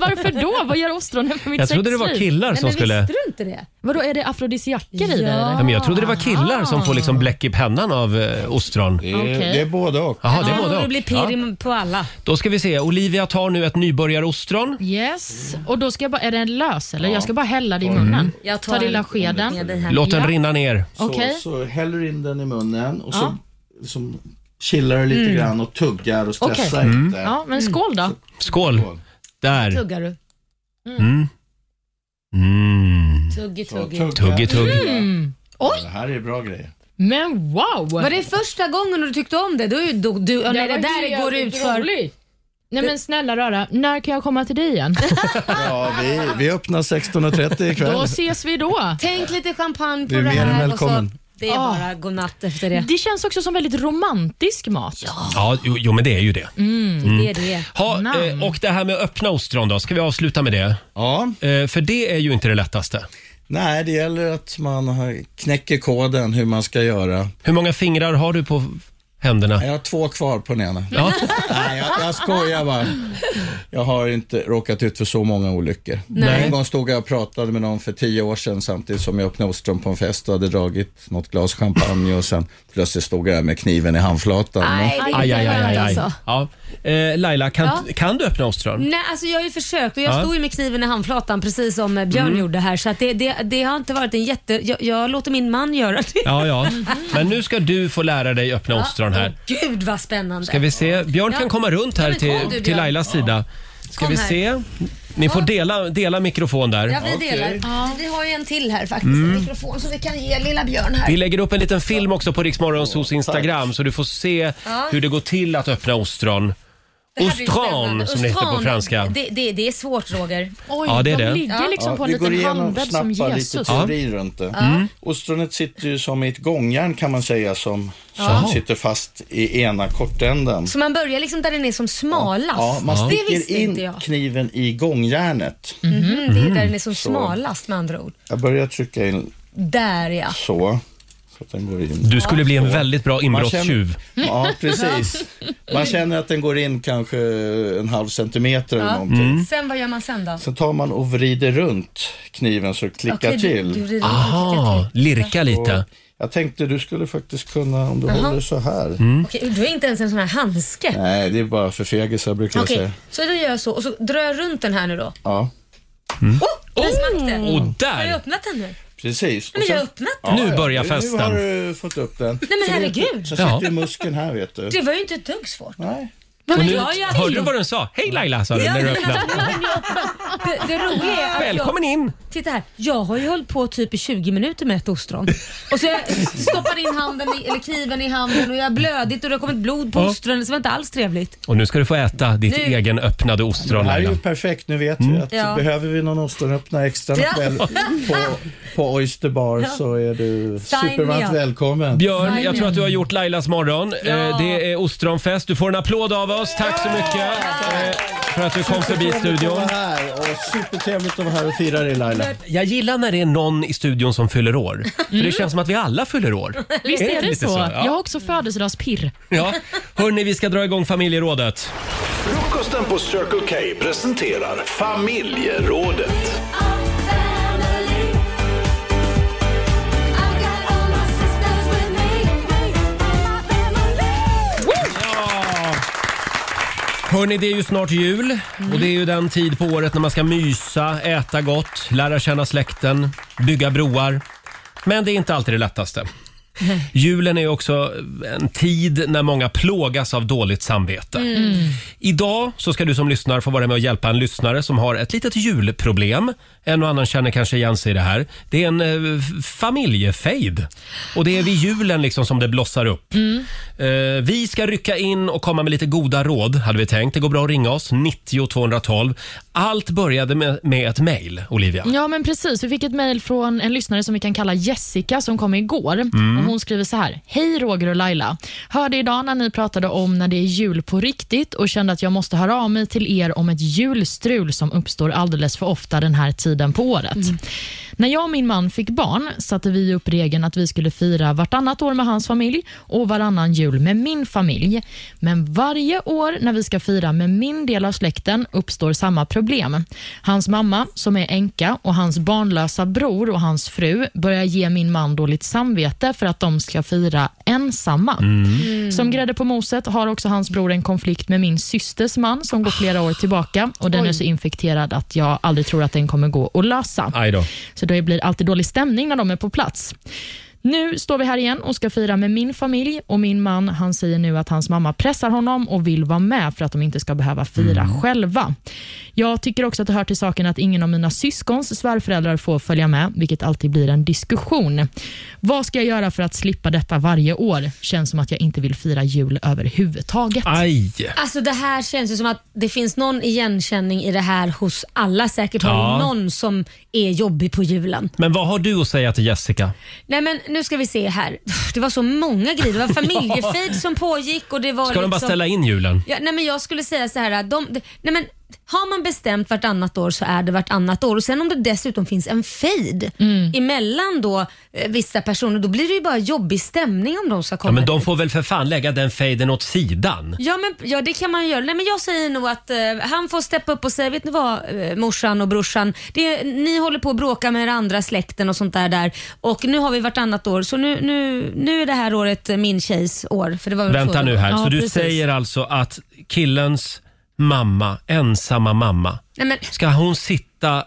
Speaker 3: Varför då? Vad gör ostronen för mitt
Speaker 1: Jag trodde det var
Speaker 3: sexliv?
Speaker 1: killar som skulle-
Speaker 2: du inte det?
Speaker 3: Vadå, är det afrodisiaker i det? eller?
Speaker 1: Ja, men jag trodde det var killar som får
Speaker 3: Ah.
Speaker 1: liksom bläck i pennan av eh, ostron. Det
Speaker 12: är- Okej. det är både och.
Speaker 1: Jaha, det är
Speaker 2: Ja,
Speaker 1: både
Speaker 2: det
Speaker 1: och.
Speaker 2: blir
Speaker 1: Ja.
Speaker 2: pirr i- på alla.
Speaker 1: Då ska vi se. Olivia tar nu ett nybörjarostron.
Speaker 3: Yes, och då ska jag bara, är den lös eller?
Speaker 1: Ja.
Speaker 3: Jag ska bara hälla det i
Speaker 1: Mm.
Speaker 3: munnen.
Speaker 2: Jag
Speaker 3: tar lilla skeden.
Speaker 1: Låt den
Speaker 3: Ja.
Speaker 1: rinna ner.
Speaker 12: Så,
Speaker 3: Okej.
Speaker 12: så häller du in den i munnen och så
Speaker 3: Ja.
Speaker 12: liksom, chillar du lite
Speaker 3: Mm.
Speaker 12: grann och tuggar och
Speaker 3: Okej.
Speaker 12: stressar
Speaker 1: Mm.
Speaker 12: inte.
Speaker 3: Ja, men skål då.
Speaker 1: Skål. Där.
Speaker 2: Tuggar du?
Speaker 1: Mm. Mm.
Speaker 2: Tuggi, tuggi.
Speaker 12: Så,
Speaker 1: Tuggi, tuggi.
Speaker 2: Mm.
Speaker 12: Det här är bra grejer.
Speaker 3: Men wow!
Speaker 2: Var det första gången du tyckte om det? Du, du, du, ja, nej, det där går ut för...
Speaker 3: Nej men snälla röra, när kan jag komma till dig
Speaker 12: *laughs*
Speaker 3: igen?
Speaker 12: Ja, vi, vi öppnar 16.30 ikväll.
Speaker 3: Då ses vi då.
Speaker 2: Tänk lite champagne på
Speaker 12: Du är
Speaker 2: det
Speaker 12: mer än
Speaker 2: här och
Speaker 12: välkommen.
Speaker 2: så. Det är
Speaker 1: Ah.
Speaker 2: bara godnatt efter det.
Speaker 3: Det känns också som väldigt romantisk mat.
Speaker 1: Ja, jo, jo, men det är ju det.
Speaker 3: Mm.
Speaker 1: Mm.
Speaker 2: Det är det.
Speaker 1: Ha, eh, och det här med öppna ostron då, ska vi avsluta med det?
Speaker 12: Ja.
Speaker 1: Eh, för det är ju inte det lättaste.
Speaker 12: Nej, det gäller att man har- knäcker koden hur man ska göra.
Speaker 1: Hur många fingrar har du på händerna?
Speaker 2: Eh,
Speaker 12: Jag har två kvar på den ena.
Speaker 1: Ja.
Speaker 12: *laughs* Nej, jag, jag skojar bara. Jag har inte råkat ut för så många olyckor.
Speaker 1: Nej.
Speaker 12: En gång stod jag och pratade med någon för tio år sedan samtidigt som jag öppnade ostron på en fest och hade dragit något glas champagne och sen plötsligt stod jag där med kniven i handflatan.
Speaker 2: Nej, det är inte skönt alltså.
Speaker 1: Ja. Eh, Laila, kan,
Speaker 2: Ja.
Speaker 1: kan du öppna ostron?
Speaker 2: Nej, alltså jag har ju försökt och jag
Speaker 1: Ja.
Speaker 2: stod ju med kniven i handflatan precis som eh, Björn
Speaker 1: Mm.
Speaker 2: gjorde här. Så att det, det, det har inte varit en jätte... Jag, jag låter min man göra det.
Speaker 1: Ja, ja.
Speaker 2: Mhm.
Speaker 1: Men nu ska du få lära dig öppna ostron här.
Speaker 2: Gud vad spännande.
Speaker 1: Ska vi se? Björn
Speaker 2: Ja.
Speaker 1: kan komma runt här
Speaker 2: Ja, men kom du,
Speaker 1: till,
Speaker 2: Björn.
Speaker 1: till Lailas sida. Ska
Speaker 2: Kom
Speaker 1: vi
Speaker 2: här.
Speaker 1: se? Ni får dela, dela mikrofon där.
Speaker 2: Ja, vi delar. Vi har ju en till här faktiskt,
Speaker 1: Mm.
Speaker 2: en mikrofon som vi kan ge lilla Björn här.
Speaker 1: Vi lägger upp en liten film också på Riksmorgonsos Instagram så du får se
Speaker 2: Ja.
Speaker 1: hur det går till att öppna ostron.
Speaker 2: Det här blir spännande.
Speaker 1: Ostran som det heter på
Speaker 2: Ostran,
Speaker 1: franska.
Speaker 2: Det, det, det är svårt Roger.
Speaker 3: Oj,
Speaker 1: Ja, det är de det.
Speaker 3: ligger liksom på en
Speaker 12: vi
Speaker 3: liten
Speaker 12: går igenom och
Speaker 3: handbädd som
Speaker 12: snappar
Speaker 3: Jesus.
Speaker 12: lite teorin runt det.
Speaker 2: Ja. Mm.
Speaker 12: Ostronet sitter ju som i ett gångjärn kan man säga som, som
Speaker 2: Ja.
Speaker 12: sitter fast i ena kortänden.
Speaker 2: Så man börjar liksom där den är som smalast.
Speaker 12: Ja, man
Speaker 2: Det
Speaker 12: sticker
Speaker 2: visste
Speaker 12: in
Speaker 2: inte jag.
Speaker 12: kniven i gångjärnet.
Speaker 2: Mhm, Det är där den är som
Speaker 12: Så.
Speaker 2: smalast med andra ord.
Speaker 12: Jag börjar trycka in
Speaker 2: Där ja.
Speaker 12: så. Så att den går in.
Speaker 1: Du skulle bli en väldigt bra
Speaker 12: Man
Speaker 1: inbrottstjuv.
Speaker 2: Mm.
Speaker 12: känner-
Speaker 2: *laughs*
Speaker 12: Ja, precis. Man känner att den går in kanske en halv centimeter eller
Speaker 2: Ja. Mm.
Speaker 12: någonting.
Speaker 2: Sen vad gör man sen då?
Speaker 12: Sen tar man och vrider runt kniven så det klickar
Speaker 2: Okej, du-
Speaker 12: till.
Speaker 2: du vrider runt och Aha, klickar till. lirka lite.
Speaker 12: Och jag tänkte du skulle faktiskt kunna, om du
Speaker 2: Jaha. Mm.
Speaker 12: håller så här.
Speaker 2: Okej, du har inte ens en sån här handske.
Speaker 12: Nej, det är bara för fegisar brukar jag
Speaker 2: Okej,
Speaker 12: säga.
Speaker 2: så då gör jag så och så drar jag runt den här nu då.
Speaker 12: Ja,
Speaker 2: Oh, där smack den.
Speaker 12: Och där.
Speaker 2: Har jag öppnat den nu?
Speaker 12: precis.
Speaker 2: Men
Speaker 12: Och
Speaker 2: jag har
Speaker 12: sen-
Speaker 2: öppnat
Speaker 12: Ja,
Speaker 1: Nu
Speaker 12: ja,
Speaker 1: börjar
Speaker 12: Nu har
Speaker 1: festen.
Speaker 12: du fått upp den.
Speaker 2: Nej, men
Speaker 12: Så vet du-
Speaker 2: herregud.
Speaker 12: Så
Speaker 1: Ja.
Speaker 12: sitter ju muskeln här vet du.
Speaker 2: Det var ju inte ett dugg svårt.
Speaker 12: Nej.
Speaker 2: Men
Speaker 1: Och nu,
Speaker 2: jag gör
Speaker 1: hörde
Speaker 2: in.
Speaker 1: du vad den sa? Hej Laila, sa du när du öppnade.
Speaker 2: *laughs* Det, det roliga är att
Speaker 1: Välkommen
Speaker 2: jag,
Speaker 1: in.
Speaker 2: Titta här, jag har ju hållit på typ i 20 minuter med ett ostron. Och så jag stoppar in handen i, eller kniven i handen och jag har blödigt och det har kommit blod på
Speaker 1: Ja.
Speaker 2: ostronen. Så det var inte alls trevligt.
Speaker 1: Och nu ska du få äta ditt
Speaker 2: Nu-
Speaker 1: egen öppnade ostron
Speaker 12: Det här är
Speaker 1: Laila.
Speaker 12: ju perfekt, nu vet vi att
Speaker 2: Mm. Ja.
Speaker 12: behöver vi någon ostronöppnare extra
Speaker 2: Ja.
Speaker 12: ikväll på, på Oyster Bar så är du
Speaker 2: Sign me
Speaker 12: supervarmt
Speaker 2: up.
Speaker 12: välkommen.
Speaker 1: Björn, jag tror att du har gjort Lailas morgon. Eh, Det är ostronfest. Du får en applåd av oss. Tack så mycket eh, för att du kom förbi
Speaker 12: Supertrevligt att
Speaker 1: studion.
Speaker 12: vara här och Supertrevligt att vara här och fira dig Laila.
Speaker 1: Jag gillar när det är någon i studion som fyller år. För
Speaker 2: Mm.
Speaker 1: det känns som att vi alla fyller
Speaker 2: *laughs*
Speaker 1: år.
Speaker 3: Visst är det
Speaker 1: lite
Speaker 3: så?
Speaker 1: Ja.
Speaker 3: Jag har också födelsedagspirr.
Speaker 1: Ja. Hörni, vi ska dra igång familjerådet.
Speaker 4: Frukosten på Circle K presenterar familjerådet.
Speaker 1: Hörni, det är ju snart jul och det är ju den tid på året när man ska mysa, äta gott, lära känna släkten, bygga broar. Men det är inte alltid det lättaste. Julen är ju också en tid när många plågas av dåligt samvete. Idag så ska du som lyssnar få vara med och hjälpa en lyssnare som har ett litet julproblem. En och annan känner kanske igen sig i det här. Det är en eh, f- familjefejd. Och det är vid julen liksom som det blossar upp. Eh, vi ska rycka in och komma med lite goda råd, hade vi tänkt. Det går bra att ringa oss, 90 212. Allt började med, med ett mejl, Olivia.
Speaker 3: Ja, men precis. Vi fick ett mejl från en lyssnare som vi kan kalla Jessica som kom igår. Och hon skriver så här. Hej Roger och Laila. Hörde idag när ni pratade om när det är jul på riktigt och kände att jag måste höra av mig till er om ett julstrul som uppstår alldeles för ofta den här tiden på året. När jag och min man fick barn satte vi upp regeln att vi skulle fira vartannat år med hans familj och varannan jul med min familj. Men varje år när vi ska fira med min del av släkten uppstår samma problem. Hans mamma, som är änka, och hans barnlösa bror och hans fru börjar ge min man dåligt samvete för att de ska fira ensamma. Som grädde på moset har också hans bror en konflikt med min systers man som går flera år tillbaka och den är så infekterad att jag aldrig tror att den kommer gå att lösa.
Speaker 1: Aj då.
Speaker 3: Så det blir alltid dålig stämning när de är på plats. Nu står vi här igen och ska fira med min familj och min man han säger nu att hans mamma pressar honom och vill vara med för att de inte ska behöva fira själva. Jag tycker också att det hör till saken att ingen av mina syskons svärföräldrar får följa med, vilket alltid blir en diskussion. Vad ska jag göra för att slippa detta varje år? Känns som att jag inte vill fira jul överhuvudtaget.
Speaker 1: Aj!
Speaker 2: Alltså det här känns ju som att det finns någon igenkänning i det här hos alla. Säkert
Speaker 1: Ja.
Speaker 2: har vi någon som är jobbig på julen.
Speaker 1: Men vad har du att säga till Jessica?
Speaker 2: Nej men nu ska vi se här. Det var så många grejer.
Speaker 1: *laughs*
Speaker 2: Det var familjefejd som pågick och det var
Speaker 1: Ska de bara
Speaker 2: liksom-
Speaker 1: ställa in julen?
Speaker 2: Ja, nej men jag skulle säga så här. att De, de, nej men, har man bestämt vartannat år så är det vartannat år. Och Sen om det dessutom finns en fejd emellan då, eh, vissa personer, då blir det ju bara jobbig stämning om de ska komma.
Speaker 1: Ja, men de får väl för fan lägga den fejden åt sidan.
Speaker 2: Ja, men, ja, det kan man ju göra. Nej, men jag säger nog att eh, han får steppa upp och säga, vet ni vad eh, morsan och brorsan, det, ni håller på att bråka med er andra släkten och sånt där. där och nu har vi vartannat år, så nu, nu, nu är det här året eh, min tjejs år. För det var väl så
Speaker 1: Vänta
Speaker 2: det
Speaker 1: nu
Speaker 2: var.
Speaker 1: här.
Speaker 2: Ja,
Speaker 1: Så du
Speaker 2: precis.
Speaker 1: säger alltså att killens mamma, ensamma mamma,
Speaker 2: Nej, men,
Speaker 1: ska hon sitta,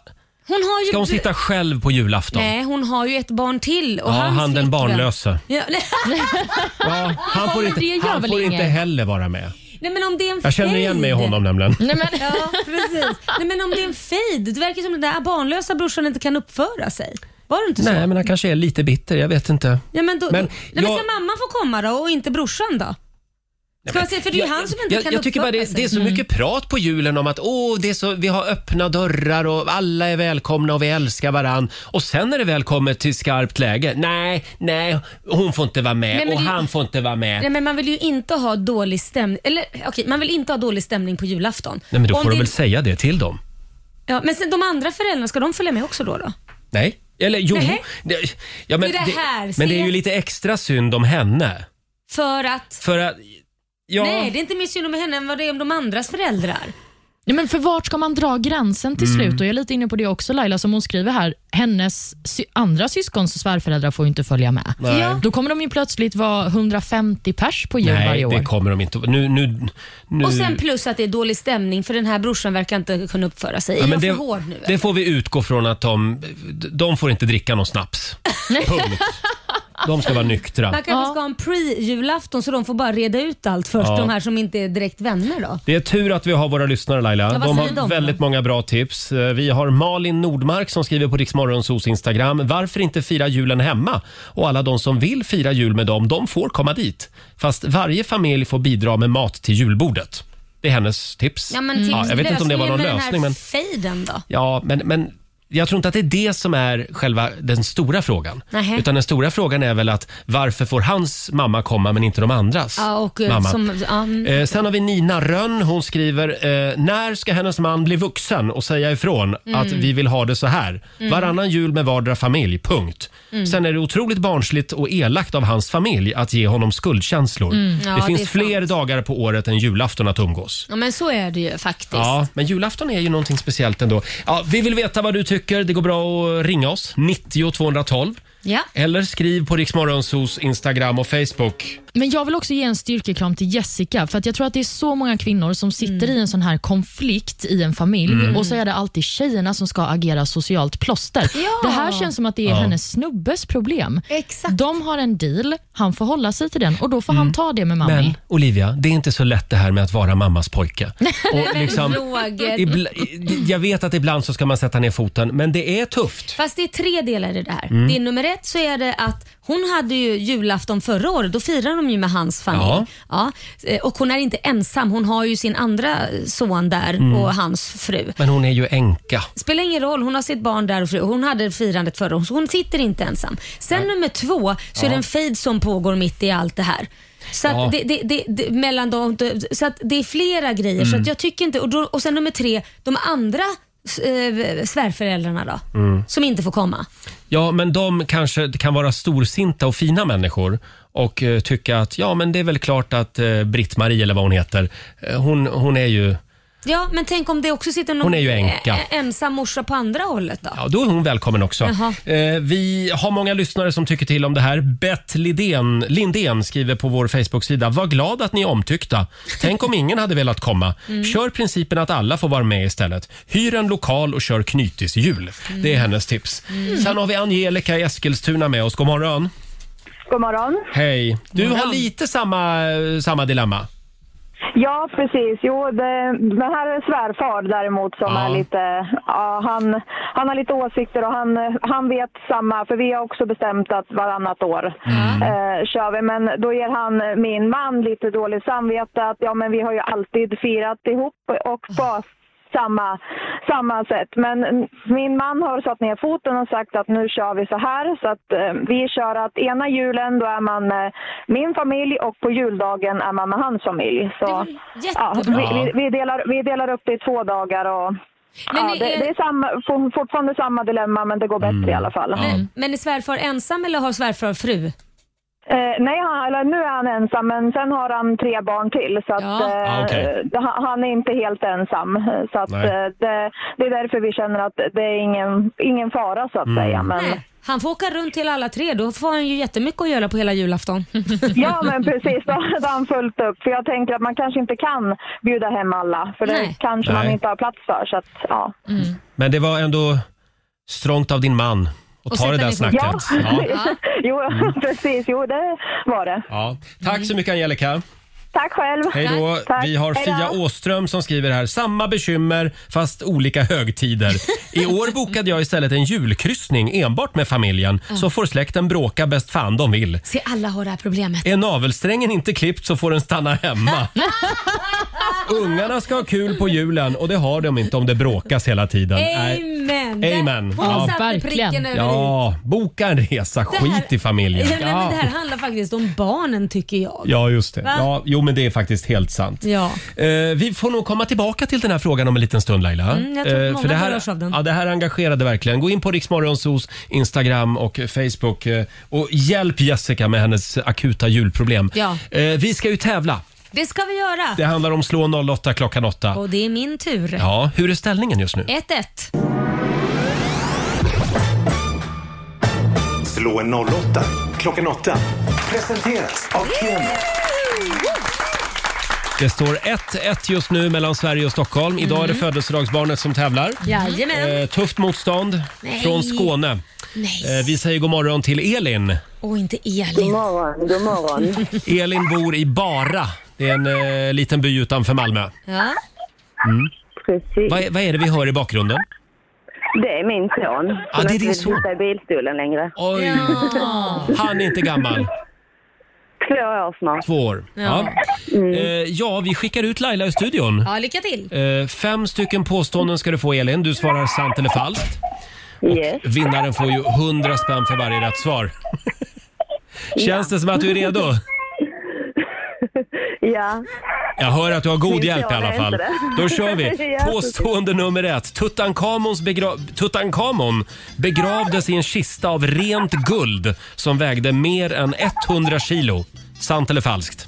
Speaker 2: hon har ju
Speaker 1: ska hon
Speaker 2: bu-
Speaker 1: sitta själv på julafton?
Speaker 2: Nej, hon har ju ett barn till. Och
Speaker 1: Ja,
Speaker 2: hans
Speaker 1: han den
Speaker 2: flickvän-
Speaker 1: barnlöse.
Speaker 2: Ja, *laughs* nej,
Speaker 1: Ja, han får,
Speaker 3: men
Speaker 1: inte,
Speaker 3: det gör
Speaker 1: han
Speaker 3: väl
Speaker 1: får inte
Speaker 3: inget.
Speaker 1: heller vara med.
Speaker 2: nej, men om det är en
Speaker 1: Jag känner igen mig i honom nämligen.
Speaker 3: Nej, men,
Speaker 2: Ja, precis. Nej, men om det är en fejd, det verkar som den där barnlösa brorsan inte kan uppföra sig. Var det inte så?
Speaker 1: Nej, men han kanske är lite bitter. Jag vet inte.
Speaker 2: Ja, men då,
Speaker 1: Men
Speaker 2: då, nej, men
Speaker 1: jag-
Speaker 2: ska mamman få komma då och inte brorsan då? Ska man säga, för det är ju han som inte
Speaker 1: jag,
Speaker 2: kan
Speaker 1: jag tycker bara
Speaker 2: uppföra
Speaker 1: det,
Speaker 2: sig. Mm.
Speaker 1: det är så mycket prat på julen om att åh, det är så, vi har öppna dörrar och alla är välkomna och vi älskar varann. Och sen när det väl kommer till skarpt läge, nej, nej, hon får inte vara med
Speaker 2: Nej, men
Speaker 1: och
Speaker 2: det-
Speaker 1: han får inte vara med.
Speaker 2: Nej, men man vill ju inte ha dålig stämning. Eller okej, man vill inte ha dålig stämning på julafton.
Speaker 1: Nej, men då
Speaker 2: Om
Speaker 1: får de
Speaker 2: det-
Speaker 1: väl säga det till dem.
Speaker 2: ja, men sen, de andra föräldrarna, ska de följa med också då? då?
Speaker 1: Nej. Eller jo.
Speaker 2: Nähä.
Speaker 1: Det, ja, men,
Speaker 2: Det är det här,
Speaker 1: men det
Speaker 2: se.
Speaker 1: är ju lite extra synd om henne.
Speaker 2: För att...
Speaker 1: För att... Ja.
Speaker 2: Nej, det är inte mer synd om henne än vad det är om de andras föräldrar.
Speaker 3: Ja, men för vart ska man dra gränsen till
Speaker 1: Mm.
Speaker 3: slut? Och jag är lite inne på det också Laila, som hon skriver här. Hennes sy- andra syskons svärföräldrar får ju inte följa med.
Speaker 1: Nej. Ja.
Speaker 3: Då kommer de ju plötsligt vara 150 pers på jul
Speaker 1: Nej,
Speaker 3: varje år.
Speaker 1: det kommer de inte. Nu, nu, nu.
Speaker 2: Och sen plus att det är dålig stämning för den här brorsan verkar inte kunna uppföra sig.
Speaker 1: Ja,
Speaker 2: är
Speaker 1: men
Speaker 2: jag
Speaker 1: det,
Speaker 2: för hård nu?
Speaker 1: det får vi utgå från att de, de får inte dricka någon snaps. Punkt. De ska vara nyktra.
Speaker 2: Man kanske ska ha en pre-julafton så de får bara reda ut allt först,
Speaker 1: Ja.
Speaker 2: de här som inte är direkt vänner då.
Speaker 1: Det är tur att vi har våra lyssnare Laila.
Speaker 2: vad
Speaker 1: de
Speaker 2: säger
Speaker 1: har
Speaker 2: de då?
Speaker 1: väldigt många bra tips. Eh, Vi har Malin Nordmark som skriver på Riksmorgonsos Instagram. Varför inte fira julen hemma? Och alla de som vill fira jul med dem, de får komma dit. Fast varje familj får bidra med mat till julbordet. Det är hennes tips.
Speaker 2: Ja, men tips,
Speaker 1: Mm. Ja, jag vet inte om det var någon
Speaker 2: lösningen
Speaker 1: lösning,
Speaker 2: med
Speaker 1: men,
Speaker 2: den här fejden då?
Speaker 1: ja, men, men jag tror inte att det är det som är själva den stora frågan.
Speaker 2: Nähä.
Speaker 1: Utan den stora frågan är väl att varför får hans mamma komma men inte de andras
Speaker 2: Ja, och, eh,
Speaker 1: mamma?
Speaker 2: som, ja, mm.
Speaker 1: Eh, sen har vi Nina Rönn. Hon skriver eh, “När ska hennes man bli vuxen och säga ifrån
Speaker 2: Mm.
Speaker 1: att vi vill ha det så här?
Speaker 2: Mm.
Speaker 1: Varannan jul med vardera familj, punkt.
Speaker 2: Mm.
Speaker 1: Sen är det otroligt barnsligt och elakt av hans familj att ge honom skuldkänslor.
Speaker 2: Mm. Ja,
Speaker 1: det finns
Speaker 2: det är
Speaker 1: fler dagar på året än julafton att umgås.
Speaker 2: ja, men så är det ju faktiskt.
Speaker 1: Ja, men julafton är ju någonting speciellt ändå. Ja, vi vill veta vad du tycker. Det går bra att ringa oss, 90 212.
Speaker 2: Ja.
Speaker 1: Eller skriv på Riksmorgonsos Instagram och Facebook.
Speaker 3: Men jag vill också ge en styrkekram till Jessica, för att jag tror att det är så många kvinnor som sitter i en sån här konflikt i en familj
Speaker 1: Mm.
Speaker 3: och så är det alltid tjejerna som ska agera socialt plåster.
Speaker 2: Ja.
Speaker 3: Det här känns som att det är
Speaker 2: Ja.
Speaker 3: hennes snubbes problem. Exakt. De har en deal, han får hålla sig till den och då får han ta det med mamma.
Speaker 1: Mm. Men Olivia, det är inte så lätt det här med att vara mammas pojke. Och
Speaker 2: Men
Speaker 1: liksom,
Speaker 2: Roger.
Speaker 1: ibla, i- jag vet att ibland så ska man sätta ner foten, men det är tufft.
Speaker 2: Fast det är tre delar i det här.
Speaker 1: Mm.
Speaker 2: Det är nummer ett så är det att hon hade ju julafton förra året. Då firade de ju med hans familj. Ja. Eh, Och hon är inte ensam. Hon har ju sin andra eh, son där
Speaker 1: Mm.
Speaker 2: och hans fru.
Speaker 1: Men hon är ju änka.
Speaker 2: Spelar ingen roll, hon har sitt barn där och fru. Hon hade firandet förra året, så hon sitter inte ensam. Sen nummer två, så är
Speaker 1: Ja.
Speaker 2: det en fejd som pågår mitt i allt det här. Så att,
Speaker 1: Ja.
Speaker 2: det, det, det, det, mellan dem, så att det är flera grejer. Så
Speaker 1: Mm.
Speaker 2: att jag tycker inte, och, då, och sen nummer tre, de andra eh, svärföräldrarna då,
Speaker 1: Mm.
Speaker 2: som inte får komma.
Speaker 1: Ja, men de kanske kan vara storsinta och fina människor och eh, tycka att ja, men det är väl klart att eh, Britt-Marie eller vad hon heter, eh, hon, hon är ju,
Speaker 2: Ja, men tänk om det också sitter någon
Speaker 1: Hon är ju änka.
Speaker 2: eh, ensam morsa på andra hållet då?
Speaker 1: ja, då är hon välkommen också.
Speaker 2: Jaha.
Speaker 1: Eh, vi har många lyssnare som tycker till om det här. Bett Lidén, Lindén skriver på vår Facebook-sida. Var glad att ni är omtyckta. Tänk om ingen hade velat komma.
Speaker 13: Mm.
Speaker 1: Kör principen att alla får vara med istället. Hyr en lokal och kör knytishjul. Det är hennes tips.
Speaker 13: Mm.
Speaker 1: Sen har vi Angelica i Eskilstuna med oss. God morgon.
Speaker 5: God morgon.
Speaker 1: Hej. Du
Speaker 5: morgon.
Speaker 1: har lite samma, samma dilemma.
Speaker 5: Ja, precis. Jo, det, den här svärfar däremot som
Speaker 1: Ja.
Speaker 5: är lite... Ja, han, han har lite åsikter och han, han vet samma, för vi har också bestämt att varannat år eh, kör vi. Men då ger han min man lite dåligt samvete att ja, men vi har ju alltid firat ihop och på samma, samma sätt. Men min man har satt ner foten och sagt att nu kör vi så här. Så att eh, vi kör att ena julen då är man med min familj och på juldagen är man med hans familj. Så, ja, vi, vi, vi, delar, vi delar upp det i två dagar och
Speaker 2: Men
Speaker 5: ja,
Speaker 2: är-
Speaker 5: det, det är samma, for- fortfarande samma dilemma men det går
Speaker 13: Mm.
Speaker 5: bättre i alla fall.
Speaker 2: Men, Mm. men är svärfar ensam eller har svärfar fru?
Speaker 5: Eh, nej, han, eller nu är han ensam, men sen har han tre barn till. Så att, eh,
Speaker 13: Ah, okej.
Speaker 5: det- han, han är inte helt ensam. eh, Så att,
Speaker 13: Nej.
Speaker 5: eh, det, det är därför vi känner att det är ingen, ingen fara, så att
Speaker 13: Mm.
Speaker 5: säga. Men,
Speaker 2: Nej, han får åka runt till alla tre. Då får han ju jättemycket att göra på hela julafton.
Speaker 5: *laughs* ja, men precis. Då hade han fullt upp. För jag tänker att man kanske inte kan bjuda hem alla, för det kanske man
Speaker 1: Nej.
Speaker 5: inte har plats för. Så att, ja.
Speaker 1: Men det var ändå strångt av din man att ta det där snacket.
Speaker 5: Ja,
Speaker 13: *laughs*
Speaker 1: Ja. Mm.
Speaker 5: jo, precis. Jo, det var det.
Speaker 1: Ja. Tack så mycket Angelica.
Speaker 5: Tack själv.
Speaker 1: Hej då.
Speaker 5: Tack.
Speaker 1: Vi har
Speaker 5: Hej då.
Speaker 1: Fia Åström som skriver här. Samma bekymmer fast olika högtider.
Speaker 2: *laughs*
Speaker 1: I år bokade jag istället en julkryssning enbart med familjen
Speaker 2: Mm.
Speaker 1: så får släkten bråka bäst fan de vill.
Speaker 2: *laughs* Se, alla har det här problemet.
Speaker 1: Är navelsträngen inte klippt så får den stanna
Speaker 2: *laughs*
Speaker 1: hemma. Ungarna ska ha kul på julen och det har de inte om det bråkas hela tiden. Nej.
Speaker 2: Amen! Amen. Där-
Speaker 1: Amen.
Speaker 2: hon satte Verkligen. pricken över
Speaker 1: Ja, boka en resa.
Speaker 2: Det här-
Speaker 1: Skit i familjen.
Speaker 2: Ja, men det här handlar faktiskt om barnen tycker jag.
Speaker 1: Ja, just det.
Speaker 2: Va?
Speaker 1: Ja, jo, men det är faktiskt helt sant.
Speaker 2: Ja.
Speaker 1: Eh, vi får nog komma tillbaka till den här frågan om en liten stund Laila.
Speaker 2: Mm, jag tror att
Speaker 1: Eh,
Speaker 2: många
Speaker 1: för det
Speaker 2: berörs av
Speaker 1: här,
Speaker 2: den.
Speaker 1: ja, det här engagerade verkligen. Gå in på Riksmorgonsos Instagram och Facebook eh, och hjälp Jessica med hennes akuta julproblem.
Speaker 2: Ja.
Speaker 1: Eh, vi ska ju tävla.
Speaker 2: Det ska vi göra.
Speaker 1: Det handlar om slå 08 klockan 8.
Speaker 2: Och det är min tur.
Speaker 1: Ja, hur är ställningen just nu?
Speaker 2: 1-1.
Speaker 4: Slå en 08 klockan 8. Presenteras av Keno.
Speaker 1: Det står 1-1 just nu mellan Sverige och Stockholm. Idag är det
Speaker 2: Mm.
Speaker 1: födelsedagsbarnet som tävlar.
Speaker 2: Jajamän.
Speaker 1: Eh, tufft motstånd
Speaker 2: Nej.
Speaker 1: från Skåne.
Speaker 2: Nej.
Speaker 1: Eh, vi säger god morgon till Elin.
Speaker 2: Och inte Elin. God morgon,
Speaker 13: *laughs*
Speaker 2: god morgon.
Speaker 1: Elin bor i Bara. Det är en eh, liten by utanför Malmö.
Speaker 2: ja.
Speaker 1: Mm. Vad, är- vad är det vi hör i bakgrunden?
Speaker 13: Det är min son. som
Speaker 1: det är din
Speaker 13: inte vill
Speaker 1: son.
Speaker 13: sitta i bilstolen längre.
Speaker 1: Oj. Han är inte gammal.
Speaker 13: Två år snart.
Speaker 1: Två år. Ja. Eh, ja, vi skickar ut Laila i studion.
Speaker 2: ja, lycka till.
Speaker 1: Eh, fem stycken påståenden ska du få Elin. Du svarar sant eller falskt. Och vinnaren får ju 100 spänn för varje rätt svar. Känns det som att du är redo?
Speaker 13: Ja.
Speaker 1: Jag hör att du har god
Speaker 13: Min
Speaker 1: hjälp i
Speaker 13: son
Speaker 1: alla
Speaker 13: är
Speaker 1: fall.
Speaker 13: inte det.
Speaker 1: Då kör vi.
Speaker 13: *laughs* Ja, precis.
Speaker 1: Påstående nummer ett. Tutankhamons begra Tutankhamon begravdes i en kista av rent guld som vägde mer än 100 kilo. Sant eller falskt?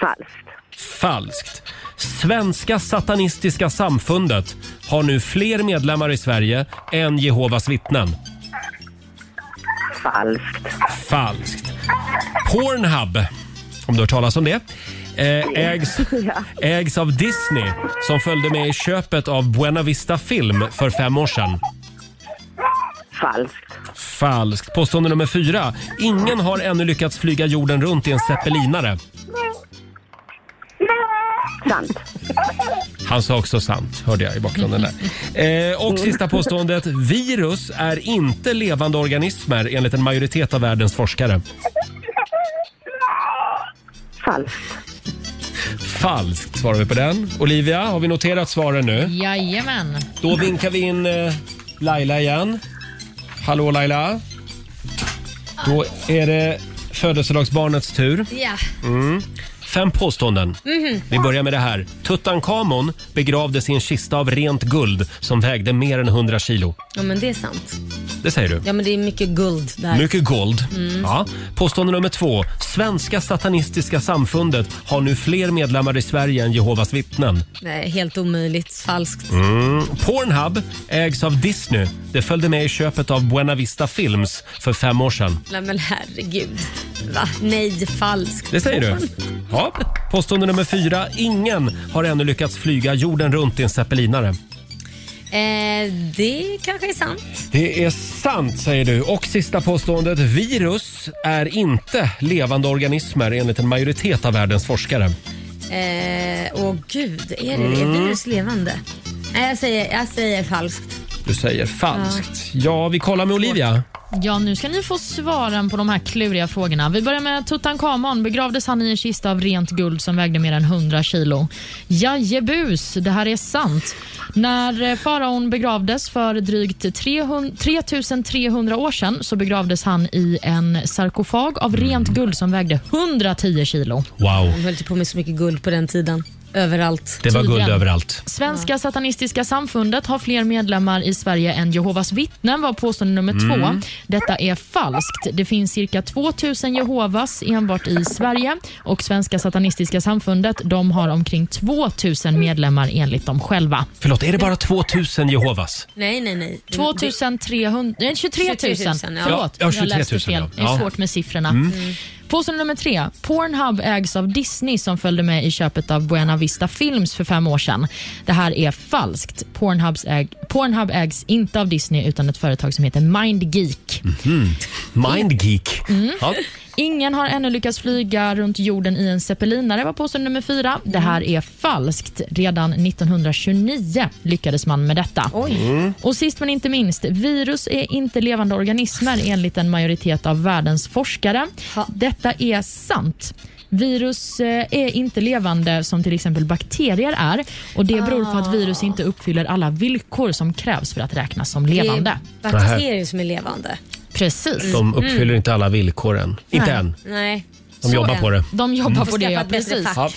Speaker 13: Falskt.
Speaker 1: Falskt. Svenska satanistiska samfundet har nu fler medlemmar i Sverige än Jehovas vittnen.
Speaker 13: Falskt.
Speaker 1: Falskt. Pornhub, om du har hört talas om det, eh, ägs, ägs av Disney som följde med i köpet av Buena Vista Film för fem år sedan.
Speaker 13: Falskt.
Speaker 1: Falskt. Påstående nummer fyra. Ingen har ännu lyckats flyga jorden runt i en zeppelinare.
Speaker 13: Sant.
Speaker 1: Han sa också sant, hörde jag i bakgrunden där. Eh, och sista påståendet. Virus är inte levande organismer enligt en majoritet av världens forskare.
Speaker 13: Falskt.
Speaker 1: Falskt svarar vi på den. Olivia, har vi noterat svaren nu?
Speaker 3: Jajamän.
Speaker 1: Då vinkar vi in eh, Laila igen. Hallå Laila. Då är det födelsedagsbarnets tur.
Speaker 2: Ja.
Speaker 1: Mm. Fem påståenden.
Speaker 2: Mhm.
Speaker 1: Vi börjar med det här. Tutankhamon begravdes i en kista av rent guld som vägde mer än 100 kilo.
Speaker 2: ja, men det är sant.
Speaker 1: Det säger du.
Speaker 2: Ja, men det är mycket guld där.
Speaker 1: Mycket guld.
Speaker 2: Mm.
Speaker 1: Ja. Påstående nummer två. Svenska satanistiska samfundet har nu fler medlemmar i Sverige än Jehovas vittnen.
Speaker 2: Nej, helt omöjligt. Falskt.
Speaker 1: Mm. Pornhub ägs av Disney. Det följde med i köpet av Buena Vista Films för fem år sedan.
Speaker 2: Nej, men herregud. Va? Nej, falskt.
Speaker 1: Det säger du? Ja. Påstående nummer fyra. Ingen har ännu lyckats flyga jorden runt i en zeppelinare.
Speaker 2: Eh, det kanske är sant.
Speaker 1: Det är sant säger du. Och sista påståendet. Virus är inte levande organismer enligt en majoritet av världens forskare.
Speaker 2: Eh, åh gud, är det det?
Speaker 1: Mm.
Speaker 2: Är virus levande? Nej, jag säger, jag säger falskt.
Speaker 1: Du säger falskt. Ja, vi kollar med Olivia.
Speaker 3: Ja, nu ska ni få svaren på de här kluriga frågorna. Vi börjar med Tutankhamon. Begravdes han i en kista av rent guld som vägde mer än 100 kilo? Jajebus, det här är sant. När eh, faraon begravdes för drygt 300, 3300 år sedan så begravdes han i en sarkofag av rent guld som vägde 110 kilo.
Speaker 1: Wow.
Speaker 2: De höll ju på med så mycket guld på den tiden. Överallt.
Speaker 1: Det var guld överallt.
Speaker 3: Svenska satanistiska samfundet har fler medlemmar i Sverige än Jehovas vittnen var påstående nummer
Speaker 14: Mm.
Speaker 3: två. Detta är falskt. Det finns cirka 2000 Jehovas enbart i Sverige och Svenska satanistiska samfundet de har omkring 2000 medlemmar enligt dem själva.
Speaker 1: Förlåt, är det bara 2000 Jehovas?
Speaker 2: Nej, nej, nej.
Speaker 3: 2300, nej, 23 000.
Speaker 2: 23 000, ja.
Speaker 3: Förlåt,
Speaker 1: Ja, 23 000,
Speaker 3: jag läste
Speaker 1: ja.
Speaker 3: fel. Det är
Speaker 1: Ja.
Speaker 3: svårt med siffrorna.
Speaker 1: Mm.
Speaker 3: Påstående nummer tre. Pornhub ägs av Disney som följde med i köpet av Buena Vista Films för fem år sedan. Det här är falskt. Pornhubs äg, Pornhub ägs inte av Disney utan ett företag som heter Mindgeek.
Speaker 1: Mhm. Mindgeek.
Speaker 3: Mm.
Speaker 1: Ja.
Speaker 3: Ingen har ännu lyckats flyga runt jorden i en zeppelinare var påstående nummer fyra. Det här
Speaker 2: Mm.
Speaker 3: är falskt. Redan 1929 lyckades man med detta.
Speaker 14: Mm.
Speaker 3: Och sist men inte minst, virus är inte levande organismer enligt en majoritet av världens forskare. Detta är sant. Virus eh, är inte levande som till exempel bakterier är och det beror på
Speaker 2: Ah.
Speaker 3: att virus inte uppfyller alla villkor som krävs för att räknas som levande.
Speaker 2: Det är bakterier som är levande.
Speaker 3: Precis.
Speaker 1: De uppfyller inte alla villkoren. Inte än.
Speaker 2: Nej.
Speaker 1: De
Speaker 3: Så
Speaker 1: jobbar
Speaker 3: är-
Speaker 1: på det.
Speaker 3: De jobbar
Speaker 2: Mm.
Speaker 3: på det, ja,
Speaker 2: Skaffa ett bättre
Speaker 3: precis.
Speaker 2: fack.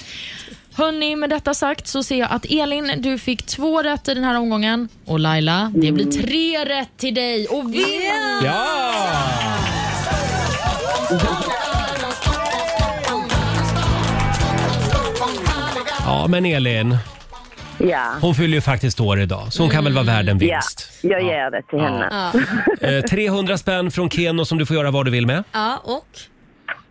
Speaker 3: Hörni, med detta sagt så ser jag att Elin, du fick två rätt i den här omgången. Och Laila, det blir tre rätt till dig. Och vi...
Speaker 1: Ja! Ja, men Elin.
Speaker 13: Ja.
Speaker 1: Hon fyller ju faktiskt år idag, så hon kan väl vara
Speaker 2: Mm.
Speaker 1: värd en
Speaker 13: Ja,
Speaker 1: vinst.
Speaker 13: jag ger det till henne.
Speaker 2: Ja.
Speaker 1: Eh, 300 spänn från Keno som du får göra vad du vill med.
Speaker 2: Ja, och?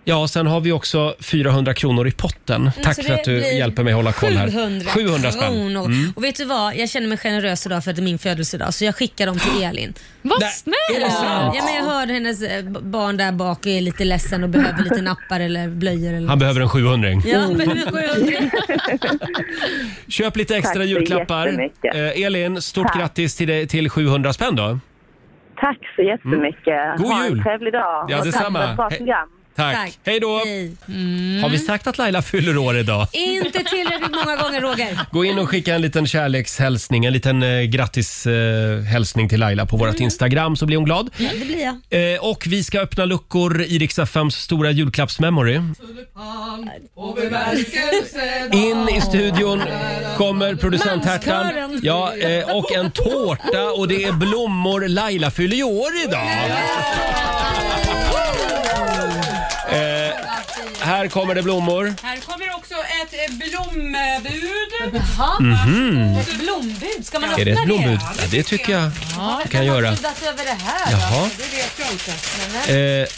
Speaker 1: Ja, sen har vi också 400 kronor i potten. Tack
Speaker 2: Mm, Så
Speaker 1: för
Speaker 2: det
Speaker 1: att du
Speaker 2: blir
Speaker 1: hjälper mig hålla koll här.
Speaker 2: 700,
Speaker 1: 700 spänn.
Speaker 2: kronor.
Speaker 1: Mm.
Speaker 2: Och vet du vad? Jag känner mig generös idag för att det är min födelsedag så jag skickar
Speaker 1: *gasps*
Speaker 2: dem till Elin.
Speaker 3: Vad
Speaker 2: Är
Speaker 3: snällt!
Speaker 2: det sant? Ja, men jag hörde hennes eh, b- barn där bak är lite ledsen och behöver lite nappar eller blöjor. Eller
Speaker 1: Han Oh. behöver en 700
Speaker 2: Ja, men nu går jag under.
Speaker 1: Köp lite
Speaker 2: Tack
Speaker 1: extra
Speaker 2: så
Speaker 1: julklappar.
Speaker 13: jättemycket.
Speaker 1: Eh, Elin, stort
Speaker 13: Tack.
Speaker 1: grattis till, dig, till 700 spänn då.
Speaker 13: Tack så jättemycket.
Speaker 1: Mm. God
Speaker 13: Ha
Speaker 1: jul.
Speaker 13: en trevlig dag.
Speaker 1: Ja,
Speaker 13: Och tack
Speaker 1: detsamma.
Speaker 13: för ett bra
Speaker 1: Hej.
Speaker 13: program.
Speaker 1: Tack. Hej då! Har vi sagt att Laila fyller år idag?
Speaker 2: Inte tillräckligt många gånger Roger.
Speaker 1: Gå in och skicka en liten kärlekshälsning, en liten eh, grattishälsning till Laila på vårt
Speaker 14: Mm.
Speaker 1: Instagram så blir hon glad.
Speaker 2: Ja, det blir jag.
Speaker 1: Eh, och vi ska öppna luckor i Rix FMs stora julklappsmemory. In i studion kommer producent Hertan.
Speaker 14: Manskören.
Speaker 1: Ja, eh, och en tårta och det är blommor. Laila fyller ju år idag. Eh, här kommer det blommor.
Speaker 14: Här kommer också ett eh, blombud.
Speaker 1: Mhm.
Speaker 14: Ett blombud? Ska man öppna
Speaker 1: Är det ett blombud?
Speaker 14: det?
Speaker 1: Ja, det tycker jag vi kan göra.
Speaker 14: över det här
Speaker 1: Jaha.
Speaker 14: alltså? Det vet jag inte. Men,
Speaker 1: Eh,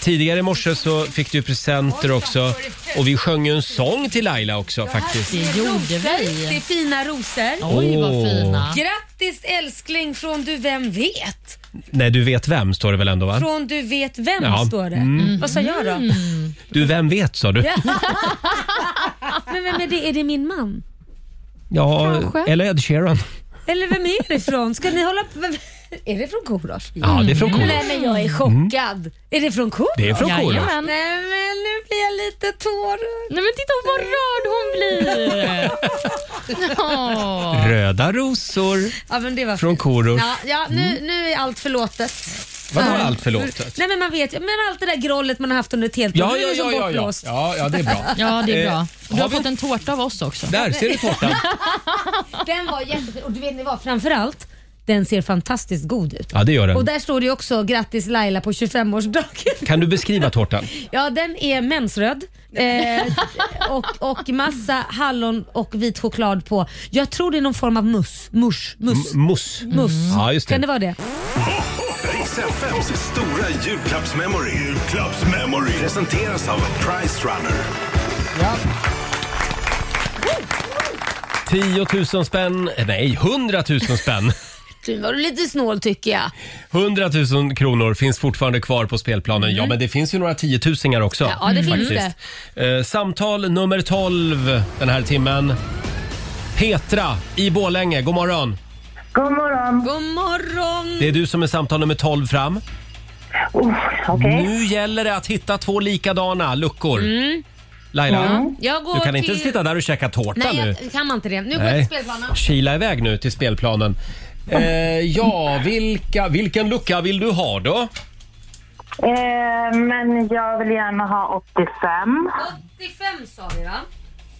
Speaker 1: tidigare i morse så fick du presenter också och vi sjöng ju en sång till Laila också faktiskt.
Speaker 3: Det gjorde vi.
Speaker 2: Det är fina rosor.
Speaker 1: Oj, vad fina.
Speaker 2: Grattis älskling från du vem vet.
Speaker 1: Nej, du vet vem står det väl ändå va?
Speaker 2: Från du vet vem
Speaker 1: Ja.
Speaker 2: står det.
Speaker 1: Mm.
Speaker 2: Vad sa jag då?
Speaker 1: Du, vem vet sa du?
Speaker 2: Men vem är det? Är det min man?
Speaker 1: Ja,
Speaker 2: Kanske.
Speaker 1: eller Ed Sheeran.
Speaker 2: Eller vem är det ifrån? Ska ni hålla på? Är det från Korosh?
Speaker 1: Ja, det är från Korosh. Mm.
Speaker 2: Nej, men jag är chockad. Är det från Korosh?
Speaker 1: Det är från Korosh.
Speaker 2: Nej, men nu blir jag lite tårögd.
Speaker 3: Nej, men titta vad rörd hon blir.
Speaker 2: Ja.
Speaker 1: Röda rosor.
Speaker 2: Ja, men det var
Speaker 1: Från
Speaker 2: fint.
Speaker 1: Korosh. Mm.
Speaker 2: Ja, ja nu, nu är allt förlåtet.
Speaker 1: Vadå
Speaker 2: För-
Speaker 1: allt förlåtet?
Speaker 2: Nej, men man vet ju. Men allt det där grollet man har haft under ett helt år.
Speaker 1: Ja,
Speaker 2: Nu är
Speaker 1: ja,
Speaker 2: det
Speaker 1: ja,
Speaker 2: som
Speaker 1: ja, ja.
Speaker 2: bortblåst.
Speaker 1: ja, ja, det är bra.
Speaker 3: Ja, det är
Speaker 1: Eh,
Speaker 3: bra. Du har,
Speaker 1: har vi-
Speaker 3: fått en tårta av oss också.
Speaker 1: Där ser du
Speaker 2: *laughs*
Speaker 1: tårtan.
Speaker 2: Den var jättefin. Och du vet ni vad? Framförallt, den ser fantastiskt god ut.
Speaker 1: Ja, det gör den.
Speaker 2: Och där står det ju också grattis Laila på 25-årsdagen.
Speaker 1: Kan du beskriva tårtan?
Speaker 2: Ja, den är mensröd eh, och, och massa hallon och vit choklad på. Jag tror det är någon form av muss. Mush, muss.
Speaker 1: M- muss.
Speaker 2: Muss.
Speaker 1: Ja, just det.
Speaker 2: Mm. Kan det vara det?
Speaker 15: Riks FMs stora julklappsmemory. Julklappsmemory. Presenteras av Price Runner.
Speaker 1: 10 000 spänn, nej 100 000 spänn.
Speaker 2: Du var lite snål tycker jag.
Speaker 1: 100 000 kronor finns fortfarande kvar på spelplanen. Ja, men det finns ju några tiotusingar också.
Speaker 2: Mm. Ja, det finns
Speaker 1: det. Eh, samtal nummer 12 den här timmen. Petra i Borlänge, god morgon.
Speaker 2: God morgon. God morgon.
Speaker 1: Det är du som är samtal nummer 12 fram.
Speaker 2: okej.
Speaker 1: Nu gäller det att hitta två likadana luckor.
Speaker 2: Mm.
Speaker 1: Laila,
Speaker 2: Ja. Jag går
Speaker 1: du kan inte
Speaker 2: till-
Speaker 1: sitta där och käka tårta
Speaker 2: Nej,
Speaker 1: nu.
Speaker 2: jag, kan man inte det. Nu går
Speaker 1: Nej.
Speaker 2: jag till spelplanen.
Speaker 1: Kila iväg nu till spelplanen. Eh, ja, vilka, vilken lucka vill du ha då?
Speaker 13: Eh, men jag vill gärna ha 85.
Speaker 2: 85 sa vi va?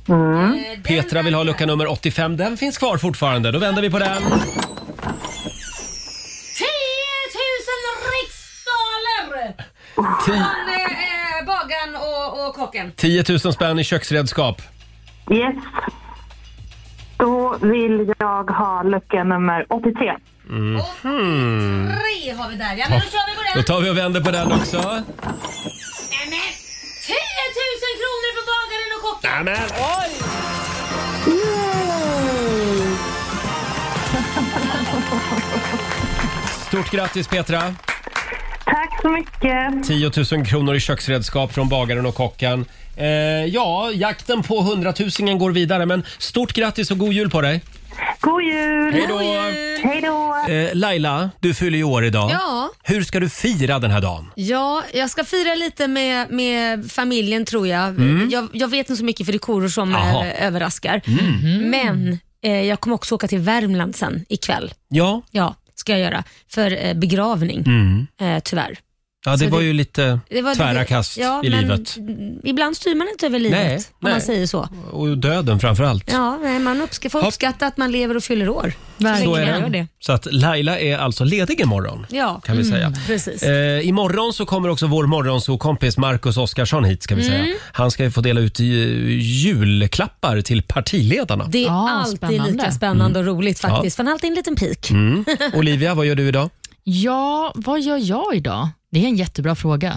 Speaker 2: Eh, den-
Speaker 1: Petra vill ha lucka nummer 85. Den finns kvar fortfarande. Då vänder vi på den.
Speaker 2: 10 000 riksdaler!
Speaker 1: Ti-
Speaker 2: Från eh, bagaren och, och kocken.
Speaker 1: 10 000 spänn i köksredskap.
Speaker 13: Yes. Då vill jag ha lucka nummer 83.
Speaker 1: Mhm.
Speaker 2: Tre har vi där ja, men då kör vi på den.
Speaker 1: Då tar vi och vänder på den också.
Speaker 2: Nämen! 10 000 kronor för bagaren och kocken!
Speaker 1: Nämen!
Speaker 2: Oj!
Speaker 1: Stort grattis Petra!
Speaker 13: Tack så mycket.
Speaker 1: 10 000 kronor i köksredskap från bagaren och kocken. Eh, ja, jakten på hundratusingen går vidare men stort grattis och god jul på dig!
Speaker 13: God jul!
Speaker 1: Hej då! God
Speaker 13: Hej då!
Speaker 1: Eh, Laila, du fyller ju år idag.
Speaker 2: Ja.
Speaker 1: Hur ska du fira den här dagen?
Speaker 2: Ja, jag ska fira lite med, med familjen tror jag.
Speaker 1: Mm.
Speaker 2: jag. Jag vet inte så mycket för det är koror som
Speaker 1: Jaha.
Speaker 2: eh, överraskar.
Speaker 1: Mhm.
Speaker 2: Men eh, jag kommer också åka till Värmland sen ikväll.
Speaker 1: Ja.
Speaker 2: Ja, ska jag göra. För eh, begravning,
Speaker 1: Mm.
Speaker 2: eh, tyvärr.
Speaker 1: Ja, det
Speaker 2: Så
Speaker 1: var
Speaker 2: det-
Speaker 1: ju lite
Speaker 2: Det var-
Speaker 1: tvära kast
Speaker 2: ja,
Speaker 1: i
Speaker 2: men
Speaker 1: livet.
Speaker 2: Ibland styr man inte över livet,
Speaker 1: Nej,
Speaker 2: om
Speaker 1: nej.
Speaker 2: man säger så.
Speaker 1: Och döden framför allt.
Speaker 2: Ja, nej, man uppsk- får
Speaker 1: Hopp.
Speaker 2: uppskatta att man lever och fyller år.
Speaker 1: Så,
Speaker 2: länge
Speaker 1: är
Speaker 2: man
Speaker 1: den.
Speaker 2: gör det.
Speaker 1: så att Laila är alltså ledig imorgon.
Speaker 2: Ja,
Speaker 1: Kan vi
Speaker 2: Mm,
Speaker 1: säga.
Speaker 2: precis.
Speaker 1: Eh, imorgon så kommer också vår morgonsokompis Marcus Oskarsson hit. Ska vi
Speaker 2: Mm.
Speaker 1: säga. Han ska ju få dela ut eh, julklappar till partiledarna.
Speaker 2: *laughs* Det är alltid lika Ah, spännande och roligt faktiskt.
Speaker 1: Mm. Ja.
Speaker 2: För han har alltid en liten pik.
Speaker 1: Mm. Olivia, vad gör du idag?
Speaker 3: Ja, vad gör jag idag? Det är en jättebra fråga.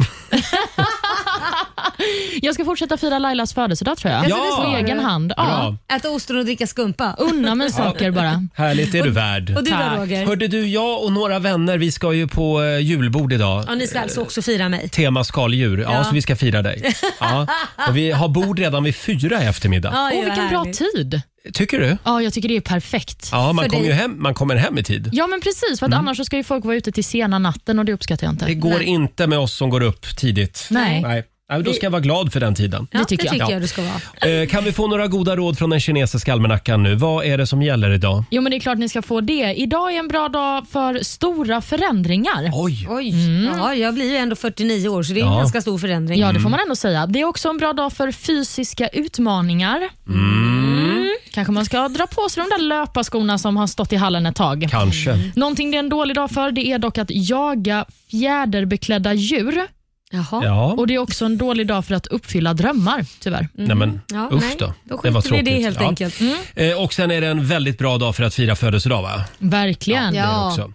Speaker 3: jag ska fortsätta fira Lailas födelsedag tror jag.
Speaker 2: Alltså, det
Speaker 3: På
Speaker 2: svarar
Speaker 3: egen
Speaker 2: du.
Speaker 3: hand. Ja.
Speaker 2: Äta ostron och dricka skumpa.
Speaker 3: Unna mig saker bara.
Speaker 1: Härligt är du
Speaker 2: Och-
Speaker 1: värd.
Speaker 2: och du då, Tack. Roger?
Speaker 1: Hörde du, jag och några vänner, vi ska ju på eh, julbord idag.
Speaker 2: Ja, ni ska alltså också fira mig.
Speaker 1: Tema skaldjur. Ja,
Speaker 2: Ja.
Speaker 1: så vi ska fira dig. Ja. Och vi har bord redan vid fyra i eftermiddag.
Speaker 3: Åh, vilken bra tid.
Speaker 1: Tycker du?
Speaker 3: Ja, jag tycker det är perfekt.
Speaker 1: Ja, man,
Speaker 3: För
Speaker 1: kommer
Speaker 3: dig.
Speaker 1: ju hem, man kommer hem i tid.
Speaker 3: Ja, men precis. För att annars så ska ju folk vara ute till sena natten och det uppskattar jag inte.
Speaker 1: Det går
Speaker 3: Nej.
Speaker 1: inte med oss som går upp tidigt.
Speaker 3: Nej.
Speaker 1: Nej. Ja, men Då
Speaker 3: Vi-
Speaker 1: ska jag vara glad för den tiden.
Speaker 2: Ja, det tycker, jag.
Speaker 1: Ja.
Speaker 2: du ska vara.
Speaker 1: Eh, Kan vi få några goda råd från den kinesiska almanackan nu? Vad är det som gäller idag?
Speaker 3: Jo, men det är klart ni ska få det. Idag är en bra dag för stora förändringar.
Speaker 1: Oj!
Speaker 2: Oj, Mm. ja, jag blir ju ändå 49 år så det är en
Speaker 3: Ja.
Speaker 2: ganska stor förändring.
Speaker 1: Mm.
Speaker 3: Ja, det får man ändå säga. Det är också en bra dag för fysiska utmaningar. Mm. Kanske man ska dra på sig de där löparskorna som har stått i hallen ett tag.
Speaker 1: Kanske.
Speaker 3: Någonting det är en dålig dag för det är dock att jaga fjäderbeklädda djur.
Speaker 2: Jaha.
Speaker 1: Ja.
Speaker 3: Och Det är också en dålig dag för att uppfylla drömmar, tyvärr.
Speaker 1: Nej, men, usch då. det var tråkigt.
Speaker 2: Mm.
Speaker 1: Ja. Eh, Och sen är det en väldigt bra dag för att fira födelsedag va?
Speaker 3: Verkligen.
Speaker 1: Ja, det är det också.